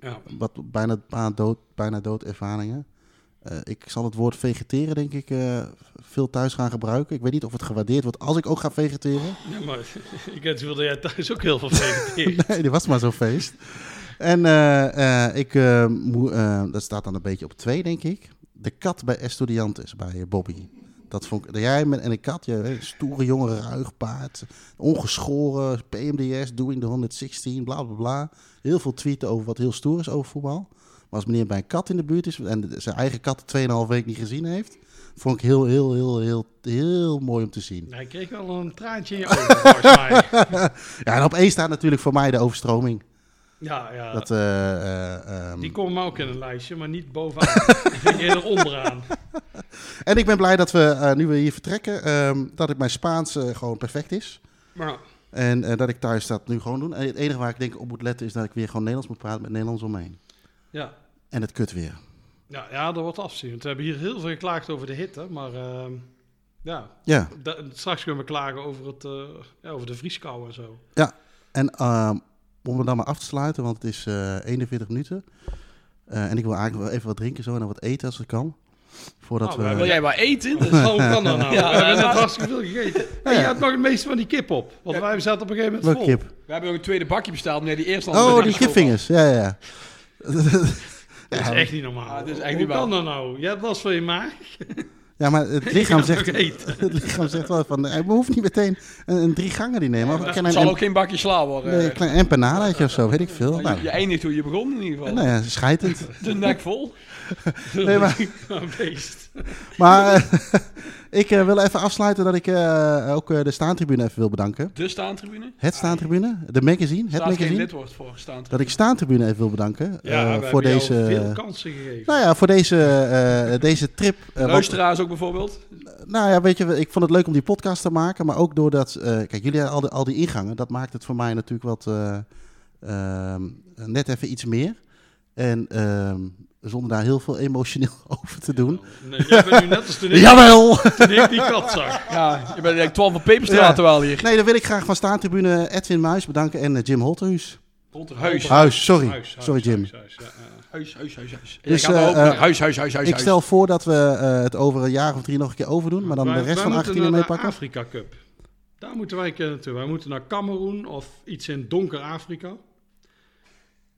A: Ja.
B: Wat bijna, bijna, dood, bijna dood ervaringen. Eh, ik zal het woord vegeteren denk ik eh, veel thuis gaan gebruiken. Ik weet niet of het gewaardeerd wordt als ik ook ga vegeteren.
A: Ja, maar ik weet wel dat jij thuis ook heel veel vegetarisch.
B: Nee, dit was maar zo'n feest. En eh, eh, ik, eh, moe- eh, dat staat dan een beetje op twee, denk ik. De kat bij Estudiantes, bij eh, Bobby. Dat vond ik, dat jij met, en een kat, je, weet, stoere jongen, ruig paard, ongeschoren, PMDS, doing the 116, bla bla bla. Heel veel tweeten over wat heel stoer is over voetbal. Maar als meneer bij een kat in de buurt is en de- zijn eigen kat 2,5 week niet gezien heeft, vond ik heel, heel, heel, heel, heel mooi om te zien.
A: Hij kreeg wel een traantje in je ogen, volgens mij.
B: Ja, en op één staat natuurlijk voor mij de overstroming.
A: Ja, ja.
B: Dat, eh, eh, ehm,
A: Die komen ook in een lijstje, maar niet bovenaan. Die ging eerder onderaan.
B: En ik ben blij dat we, eh, nu we hier vertrekken, ehm, dat ik mijn Spaans eh, gewoon perfect is.
A: Maar
B: En eh, dat ik thuis dat nu gewoon doen. En het enige waar ik denk op moet letten is dat ik weer gewoon Nederlands moet praten met Nederlands omheen.
A: ja,
B: En het kut weer.
A: ja, ja dat wordt afzien. Want we hebben hier heel veel geklaagd over de hitte, maar ehm, ja,
B: Ja,
A: da- straks kunnen we klagen over, het, eh, ja, over de vrieskou en zo.
B: ja. En ehm, om het dan maar af te sluiten, want het is eh, 41 minuten. Eh, en ik wil eigenlijk wel even wat drinken zo en dan wat eten als het kan. Voordat
A: Nou,
B: we...
A: wij
C: Wil jij Oh, maar eten?
A: Dus hoe kan dat nou?
C: Ja,
A: we hebben
C: eh,
A: net hartstikke veel gegeten. En je had nog het meeste van die kip op. Want wij zaten op een gegeven moment
B: Welke
A: vol.
B: kip?
C: We hebben ook een tweede bakje besteld, meneer die eerste
B: Oh, die kipvingers. Ja, ja, ja.
A: Dat is echt niet normaal.
C: Ah, dat is echt
A: Hoe
C: niet
A: kan
C: normaal.
A: dat nou? Je hebt last van je maag.
B: Ja, maar het lichaam
A: Ik ga
B: zegt,
A: nog eten.
B: het lichaam zegt wel van, eh, we hoeven niet meteen een, een drie gangen die nemen. maar we
C: Het
B: kennen
C: zal
B: een-
C: ook geen bakje sla worden. Eh,
B: Nee, een
A: Eh,
B: klein empanadaatje of zo, weet ik veel.
C: je, je
B: Nou,
C: eindigt hoe je begon in ieder geval.
B: nou ja, schijtend.
C: De nek vol.
B: Nee, maar
A: Een beest.
B: maar eh, ik eh, wil even afsluiten dat ik eh, ook eh, de staantribune even wil bedanken.
C: De staantribune.
B: Het staantribune, de magazine, het
C: Staat geen
B: magazine.
C: lidwoord voor staantribune.
B: Dat ik staantribune even wil bedanken eh,
A: Ja, we
B: voor,
A: hebben
B: deze, eh,
A: jou veel kansen gegeven.
B: nou ja, voor deze, eh, deze trip. eh, want-
C: Luisteraars ook bijvoorbeeld.
B: nou ja, weet je, ik vond het leuk om die podcast te maken, maar ook doordat, eh, kijk, jullie hadden al, die- al die ingangen, dat maakt het voor mij natuurlijk wat, eh, ehm, net even iets meer. En ehm, zonder daar heel veel emotioneel over te doen.
A: Nee, jij bent nu net als toen ik,
B: Jawel!
A: toen ik die kat zag.
C: Ja, je bent eigenlijk 12 van Peperstraat
B: Ja.
C: wel hier.
B: Nee, dan wil ik graag van Staantribune Edwin Muis bedanken en eh, Jim Holterhuis.
C: Huis.
B: Huis, Ah, sorry.
A: Huis, huis,
B: sorry, Jim.
A: huis, huis, ja, ja.
C: Huis, huis, huis, huis.
B: Dus,
C: Dus, ook
B: eh,
C: naar huis, huis, huis, huis.
B: ik
C: huis.
B: stel voor dat we eh, het over een jaar of drie nog een keer overdoen, maar dan
A: Wij-
B: de rest
A: wij
B: van
A: moeten
B: 18
A: naar de
B: meepakken.
A: Afrika Cup. Daar moeten wij een keer naartoe. Wij moeten naar Cameroen of iets in donker Afrika.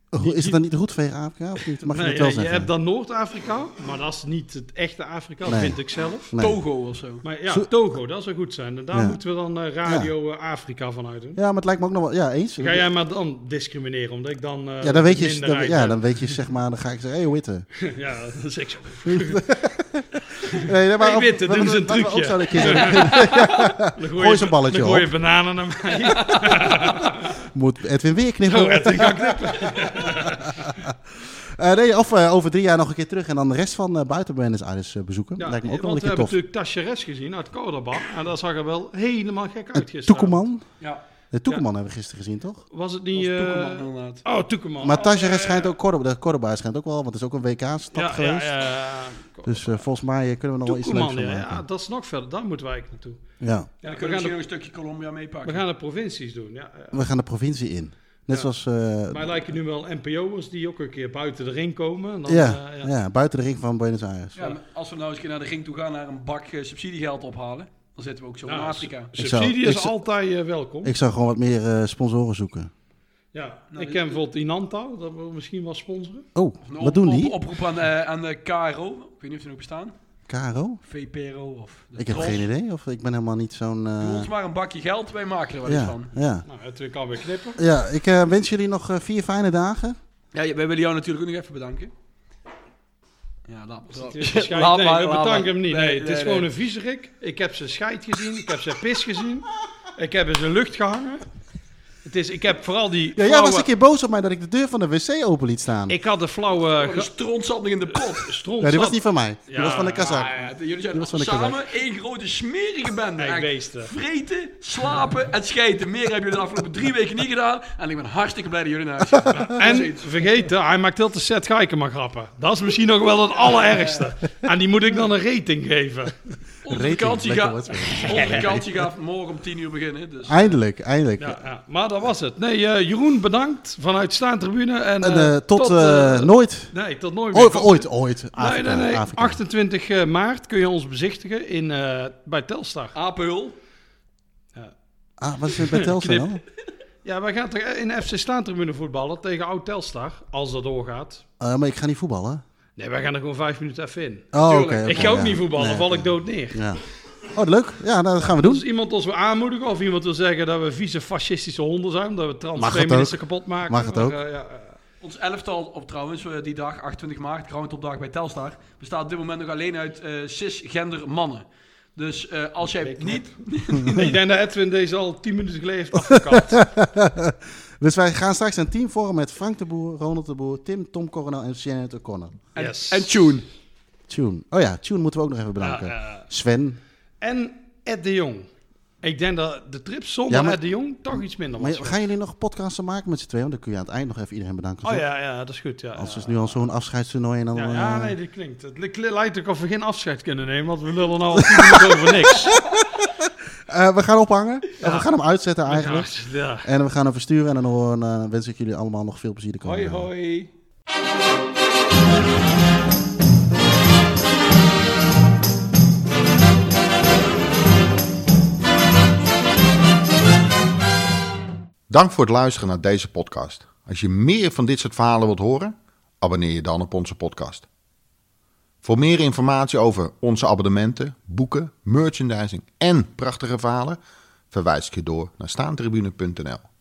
B: Hoe- Oh, Is het dan niet de route via Afrika of niet? Mag je
A: Nee,
B: dat wel
A: ja,
B: zeggen?
A: hebt dan Noord-Afrika, maar dat is niet het echte Afrika,
B: Nee.
A: vind ik zelf.
B: Nee.
C: Togo of zo.
A: Maar ja,
B: Zo-
A: Togo, dat zou goed zijn. En daar
B: Ja.
A: moeten we dan eh, Radio eh, Afrika van uit doen.
B: Ja, maar het lijkt me ook nog wel... Ja, eens.
A: Ga jij maar dan discrimineren, omdat ik dan. eh,
B: ja, dan weet je, dan,
A: minderheid
B: ja,
A: ben.
B: dan weet je zeg maar, dan ga ik zeggen, hé, hey, witte.
A: ja, dat is ik zo.
B: Nee, nee,
A: Hey,
B: op-
A: Witte,
B: wat-
A: doen ze
B: wat-
A: een
B: wat
A: trucje.
B: we ook zouden kiezen.
A: Dan
B: Gooi eens een balletje
A: dan gooi
B: op.
A: je bananen naar mij.
B: Moet Edwin weer knippen.
A: Oh, Edwin, ga ik net-
B: Eh, nee, of eh, over drie jaar nog een keer terug en dan de rest van eh buiten Buenos Aires eh, bezoeken.
A: Ja,
B: Lijkt me ook wel
A: want we
B: een keer
A: hebben
B: tof.
A: natuurlijk Tacheres gezien uit Cordoba. En dat zag er wel helemaal gek uit gisteren.
B: Eh, Toekoman.
C: Ja,
B: De Toekoman hebben we gisteren gezien, toch?
A: Was het
C: dat
A: niet...
C: is
A: eh,
C: Toekoman inderdaad.
A: Oh, Toekoman.
B: Maar
A: Oh,
B: Tajeres
A: eh,
B: schijnt ook, Cordoba, de Cordoba schijnt ook wel, want het is ook een WK-stap
A: ja,
B: geweest.
A: Ja, ja, ja.
B: Dus eh, volgens mij eh, kunnen we nog wel iets leuks
A: Toekoman,
B: van
A: ja,
B: maken.
A: ja,
B: Ja,
A: dat is nog verder. Daar moeten we eigenlijk naartoe.
C: Ja, dan
A: we,
C: kunnen we
A: gaan
C: misschien nog
A: de,
C: een stukje Colombia meepakken.
A: we gaan de provincies doen, ja. ja.
B: we gaan de provincie in.
A: Ja.
B: Net zoals eh,
A: Maar lijken nu wel NPO'ers die ook een keer buiten de ring komen. En dan,
B: ja,
A: eh,
B: ja. buiten de ring van Buenos Aires.
C: Ja, maar als we nou eens een keer naar de ring toe gaan, naar een bak eh, subsidiegeld ophalen, dan zitten we ook zo in
A: Ja,
C: Afrika.
B: Ik zou-
A: Nou, Subsidie
B: ik
A: is
B: zou-
A: altijd eh, welkom.
B: Ik zou gewoon wat meer eh, sponsoren zoeken.
A: ja.
C: Nou,
A: ik
C: dit-
A: ken bijvoorbeeld Inanta, dat we misschien wel sponsoren.
B: Oh,
C: Een op-
B: wat doen die?
C: op- oproep aan, eh, aan de KRO. Ik weet niet of ze nog bestaan.
B: Caro?
C: VPRO of... de
B: Ik heb
C: Tros.
B: geen idee. Of ik ben helemaal niet zo'n... eh,
C: Doe ons maar een bakje geld, wij maken er wel iets
B: ja,
C: van.
B: ja.
A: Nou, het kan weer knippen.
B: ja, ik eh, wens jullie nog eh, vier fijne dagen.
C: Ja, wij willen jou natuurlijk ook nog even bedanken. Ja, laat maar.
A: Het is een scheid.
C: Laat
A: Nee,
C: maar,
A: we
C: laat
A: bedanken
C: maar.
A: hem niet. Nee,
C: Nee,
A: het
C: nee,
A: is gewoon
C: nee.
A: een viezerik. Ik heb zijn scheid gezien. Ik heb zijn pis gezien. Ik heb in zijn lucht gehangen. Het is, ik heb vooral die
B: Ja, jij
A: flauwe...
B: was een keer boos op mij dat ik de deur van de wc open liet staan.
A: Ik had de flauwe
C: Een strontzat nog in de pot.
A: stront.
B: ja, die was niet van mij. Die
A: Ja,
B: was van de kazak.
C: Ah, ja, jullie zijn eh.
B: was van de
C: samen één grote smerige bende.
A: Hey,
C: Echt.
A: beesten.
C: Vreten, slapen en schijten. Meer hebben jullie de afgelopen drie weken niet gedaan. En ik ben hartstikke blij dat jullie naar huis gaan.
A: En vergeten, hij maakt heel de set geiken maar grappen. Dat is misschien nog wel het allerergste. En die moet ik dan een rating geven.
C: Onze
B: Rating,
C: vakantie,
B: lekker
C: gaat-
B: wat.
C: onze vakantie gaat morgen om tien uur beginnen. Dus.
B: Eindelijk, eindelijk.
A: Ja, ja. Maar dat was het. Nee, eh, Jeroen, bedankt vanuit Staantribune. En,
B: En,
A: eh,
B: eh, tot eh,
A: eh,
B: nooit.
A: Nee, tot nooit
B: Ooit,
A: meer.
B: ooit, ooit.
A: nee,
B: Afrika,
A: nee, nee.
B: Afrika.
A: 28 maart kun je ons bezichtigen in, eh, bij Telstar.
C: Apenhul.
B: Ah, wat is het bij Telstra
A: Knip.
B: dan?
A: Ja, wij gaan toch eh, in FC Staantribune voetballen tegen Oud Telstar, als dat doorgaat.
B: Eh, maar ik ga niet voetballen.
A: Nee, wij gaan er gewoon vijf minuten even in.
B: Oh, oké.
C: Tuurlijk.
A: ik
B: oké,
A: ga ook
B: ja.
A: niet voetballen,
B: Nee,
A: val
B: oké.
A: ik dood neer.
B: Ja. Oh, leuk. Ja, nou, dat gaan we doen.
A: Als iemand ons wil aanmoedigen of iemand wil zeggen dat we vieze fascistische honden zijn, dat we
B: Mag
A: trans
B: het
A: feministen
B: ook.
A: kapot maken.
B: Mag het
A: maar,
B: ook.
A: eh, ja, eh,
C: Ons elftal, op trouwens, eh, die dag, 28 maart, groundtopdag bij Telstar, bestaat op dit moment nog alleen uit eh cisgender mannen. Dus eh, als jij niet...
A: ik denk dat Edwin deze al tien minuten geleden heeft afgekapt.
B: Dus wij gaan straks een team vormen met Frank de Boer, Ronald de Boer, Tim, Tom Coronel en Janet O'Connor.
C: En,
A: Yes.
C: en Tune.
B: Tune. Oh ja, Tune moeten we ook nog even bedanken.
A: Ja, eh.
B: Sven.
A: en Ed de Jong. Ik denk dat de trip zonder
B: Ja, maar-
A: Ed de Jong toch iets minder
B: Maar
A: was.
B: gaan jullie nog podcasten maken met z'n tweeën? Want dan kun je aan het eind nog even iedereen bedanken.
A: oh
B: toch?
A: ja, ja, dat is goed. Ja,
B: Als
A: ja.
B: het nu al zo'n afscheidstoernooi en dan...
A: Ja,
B: eh,
A: ja, nee, dat klinkt. Het li- lijkt ook of we geen afscheid kunnen nemen, want we lullen nou al tien minuten over niks.
B: eh, we gaan ophangen. Of we gaan hem uitzetten eigenlijk.
A: Ja.
B: En we gaan hem versturen. En dan horen, eh, wens ik jullie allemaal nog veel plezier de komende
C: Hoi,
B: dagen.
C: hoi.
E: Dank voor het luisteren naar deze podcast. Als je meer van dit soort verhalen wilt horen, abonneer je dan op onze podcast. Voor meer informatie over onze abonnementen, boeken, merchandising en prachtige verhalen, verwijs ik je door naar staantribune.nl.